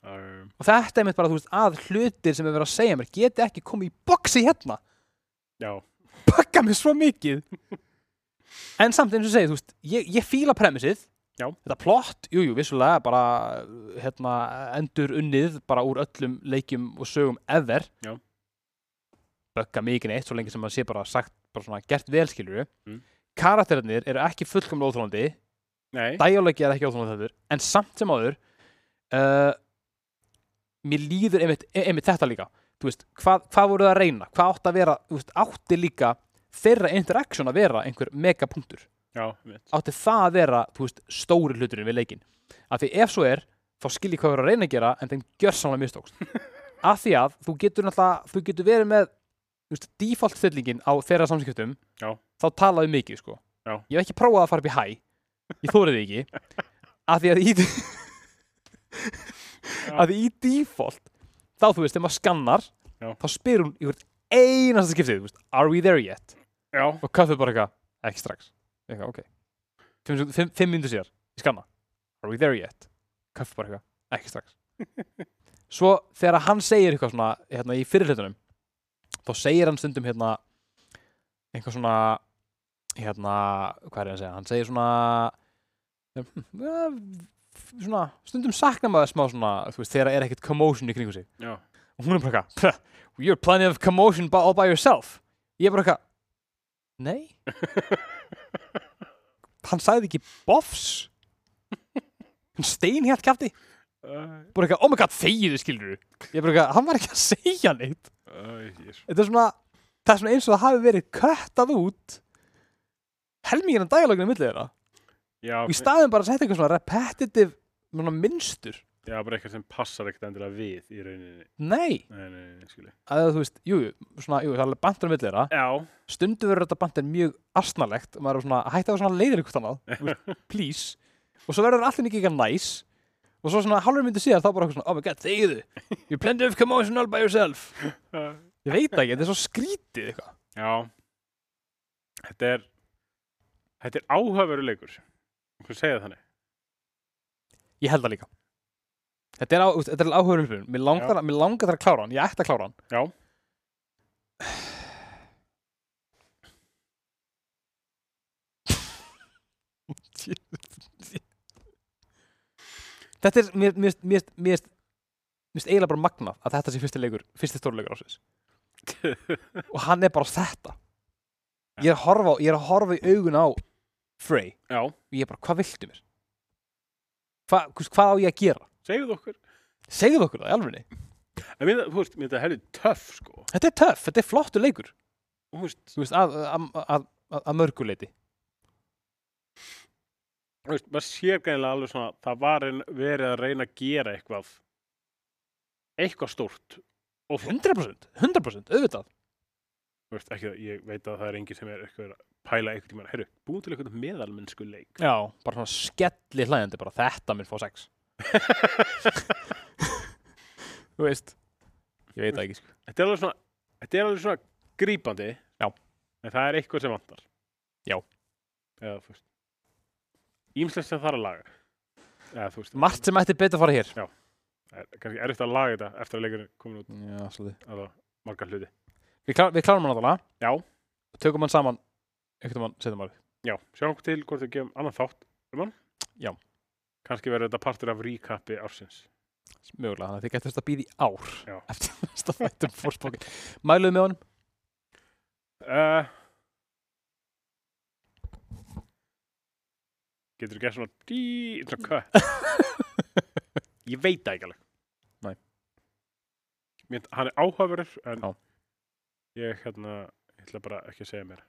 Um,
og þetta er mitt bara þú veist að hlutir sem er verið að segja mér geti ekki komið í boxi hérna
já,
bugga mig svo mikið en samt eins og segið, þú veist ég, ég fíla premissið
Já.
þetta plott, jújú, jú, vissulega bara hérna, endur unnið bara úr öllum leikjum og sögum ever
Já.
bugga mig ekki neitt svo lengi sem maður sé bara sagt bara svona gert velskilur
Mm.
karakterinir eru ekki fullkomlega óþólandi
nei,
dæjálegi er ekki óþólandi þetta en samt sem áður uh, mér líður einmitt, e, einmitt þetta líka þú veist, hvað, hvað voru það að reyna hvað átti að vera, þú veist, átti líka þeirra interaction að vera einhver megapunktur
já, mitt.
átti það að vera, þú veist, stóri hluturinn við leikin af því ef svo er, þá skil ég hvað voru að reyna að gera en þeim gjör samlega mistókst af því að þú getur náttúrulega, þú getur verið með þú veist, default stillingin á þeirra samskiptum
Já.
þá talaðu mikið, sko
Já.
ég hef ekki prófað að fara upp í hæ ég þórið ekki af því að í, af því í default þá þú veist, ef maður skannar
Já.
þá spyr hún í hvert einasta skiptið þú veist, are we there yet?
já,
og kaffið bara eitthvað, ekki strax eitthvað, ok fimm, sekúnd- fimm, fimm myndu sér, ég skanna are we there yet? kaffið bara eitthvað, ekki strax svo þegar hann segir eitthvað svona hérna í fyrirlitunum þá segir hann stundum hérna eitthvað svona hérna, hvað er ég að segja, hann segir svona ja, svona, stundum sakna maður smá svona, þú veist, þegar er ekkert commotion í kringu sig
já,
og hún er bara eitthvað "Huh, you're plenty of commotion by, all by yourself ég er bara eitthvað nei hann sagði ekki boffs hann stein hér kæfti
uh,
bara eitthvað oh my god þegiðu skilur ég er bara eitthvað hann var ekki að segja neitt
uh, yes.
þetta er svona það er svona eins og það hafi verið köttað út helmingin af dagalögnum millið þeirra
já,
og í staðin bara að setja eitthvað svona repetitive svona, minnstur
Já, bara eitthvað sem passar ekkert endilega við í rauninni.
Nei,
Nei, nei, nei, nei skilji.
að þú veist, jú, jú, svona, jú, það er alveg bantur á milli þeirra
Já,
stundu verður þetta bandin mjög asnalegt og maður er svona að hætta að vera svona leiðir ykkur annað þú veist, please og svo verður allir ekki eitthvað næs og svo svona hálfur myndi síðar þá bara eitthvað svona oh my god, þegiðu you planned to come on all by yourself
uh,
ég veit það ekki, þetta er svo skrítið eitthvað
já. Þetta er, þetta er áhugaveru leikur. Hvað segja það þannig?
ég held það líka þetta er, á, þetta er áhugur upplifun mér langar, mér langar það að klára hann, ég ætti að klára hann
Já.
þetta er mér mér mér mér mér finnst eiginlega bara magnað að þetta sé fyrsti leikur fyrsti stórleikur ásins og hann er bara þetta ég er að horfa, á- ég er að horfa í augun á Frey
já,
og ég er bara, hvað viltu mér? Hva, þú veist, hvað á ég að gera?
segjuð okkur.
Segðu okkur það í alvegni
En mér, það- þú veist, mér þetta heldur töff, sko.
Þetta er töff, þetta er flottu leikur
Og Þú veist,
Þú veist, að, að, að, að, að mörguleiti
þú veist, maður sér gænilega alveg svona, það var ein, verið að reyna að gera eitthvað, eitthvað stórt og flott.
100%, 100%, auðvitað
Þú veist, ekki það, ég veit að það er enginn sem er eitthvað að pæla eitthvað tíma, herru, búin til eitthvað meðalmennsku leik.
Já, bara svona skelli hlæðandi bara þetta mér fá sex Þú veist Ég veit það ekki sko.
Þetta er alveg svona, þetta er alveg svona grípandi.
Já.
En það er eitthvað sem vantar.
Já.
Eða, þú veist, ímslegt sem þarf að laga. Eða, þú veist,
Margt sem ætti betur að fara hér
það er kannski erfitt að laga þetta eftir að leikurinn komin út
Já, svolítið
að það margar hluti.
Við, klá, við klárum hann náttúrulega
Já.
Tökum hann saman Ekkert um hann setjum hann
Já, sjáum til hvort við gefum annan þátt um hann.
Já.
Kannski verður þetta partur af recapi ársins.
Mögulega, þannig að þið getur þetta að býða í ár
Já.
Eftir næsta þættum fórspókin Mæluðu með honum
Uh, getur þú gert svona dí, svona kött? Ég veit það ekki alveg.
Nei.
Mér, hann er áhugaverður, en
Já.
ég hérna, ég ætla bara ekki að segja mér.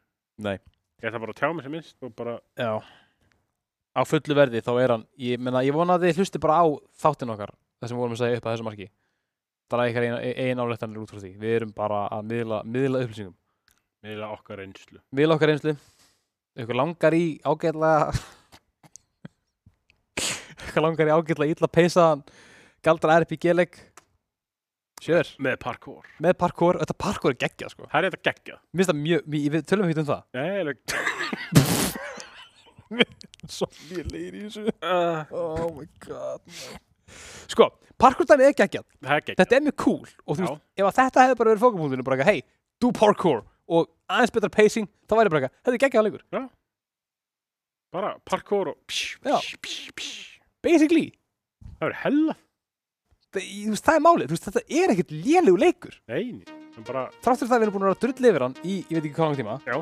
Nei.
Ég ætla bara að tjá mig sem minnst og bara,
Já Á fullu verði þá er hann Ég, menna, ég vona að þið hlusti bara á þáttin okkar Það sem vorum að segja upp að þessu marki Það er eitthvað einn áleittanir út frá því Við erum bara að miðla, miðla upplýsingum
meðlega okkar reynslu.
Miðla okkar einslu Ykkur langar í ágætlega Ykkur langar í ágætlega illa peysaðan Galdra RPG-leik Sjör
Með parkour.
Með parkour, þetta parkour er geggjað sko
Það er þetta geggjað.
Mér finnst það mjög, mjög, við tölum ekkert um það
Nei, alveg.
Svo mjög leir í þessu
Uh,
Oh my god Sko, parkour dæmi er geggjað
það er geggjað.
Þetta er mjög cool og þú
Já.
veist, ef að þetta hefði bara verið fókupunktinu bara eitthvað, hei, do parkour og aðeins betra pacing, þá væri bara eitthvað, þetta er geggjað leikur
Bara parkour og psh,
Já.
psh, psh, psh.
Basically,
Það verður hella.
það, þú veist, það er málið, þú veist, þetta er ekkert lélegu leikur
Nei, en bara,
Þráttur það að við erum búin að vera að drull yfir hann í, ég veit ekki hvað langt tíma
Já.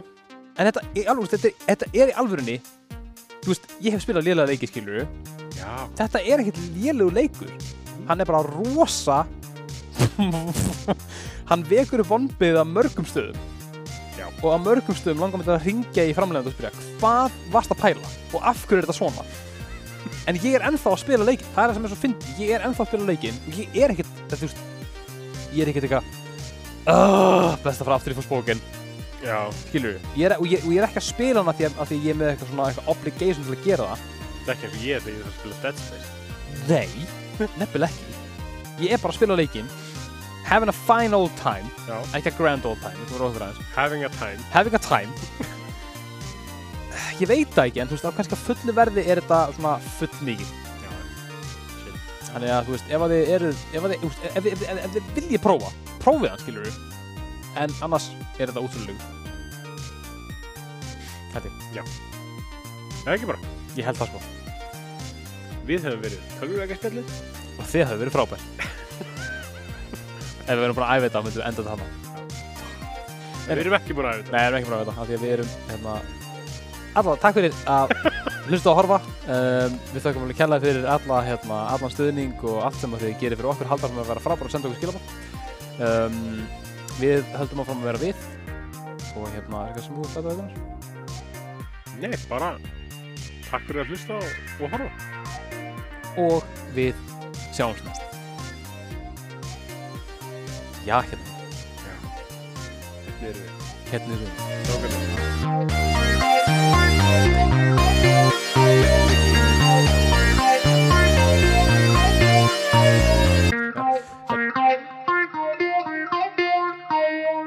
En þetta er, alveg, þetta, er, þetta er í alvörunni, þú veist, ég hef spilað lélega leiki, skilur
já,
Þetta er ekkert lélegu leikur Hann er bara rosa Hann vekur upp vonbið að mörgum stöðum
Já.
Og að mörgum stöðum langar mig til að ringja í framlegðan og spyrja Hvað varst að pæla? Og af hverju er þetta svona? En ég er ennþá að spila leikinn Það er það sem er svo fyndið Ég er ennþá að spila leikinn Og ég er ekkert þetta, þú veist, Ég er ekkert eitthvað "Ugh, Best að fara aftur í fórspókin
já.
Skilur ég er, og, ég, og ég er ekki að spila hana því að, að því ég er með eitthvað svona eitthvað obligation til að gera það
Það er ekki eins og ég þegar ég þarf að spila Dead Space.
Nei, nefnileg ekki Ég er bara að spila leikinn Having a fine old time
Já.
Ekki a grand old time, þú voru okkur aðeins
Having a time.
Having a time Ég veit það ekki, en þú veist, á kannski að fullu verði er þetta svona full mikið
Já, shit.
Þannig að, þú veist, ef að þið eru Ef, að þið, þú veist, ef, ef, ef, ef þið viljið prófa Prófið hann, skilur við En annars er þetta útrúlegu Þetta, er-
Það er ekki bara.
ég held það sko
Við höfum verið tölvulega spjallið.
Og þið hafði verið frábær Ef við verðum bara að æfa þetta, myndum við enda þetta hana
Við erum ekki búin að hafa þetta.
Nei, við erum ekki búin að þetta, af því að við erum hérna Alla, takk fyrir að hlusta og horfa um, Við þökkum alveg kærlega fyrir alla, hérna, allan stuðning og allt sem að þið gerir fyrir okkur haldar sem að vera frábæra að senda okkur skilabá um, Við höldum áfram að vera við og hérna, er eitthvað sem þú bæta auðvitað?
Nei, bara. Takk fyrir að hlusta og, og horfa.
Og við sjáumst næst Já, hérna,
Þetta eru við.
hérna erum við
Nákvæmlega.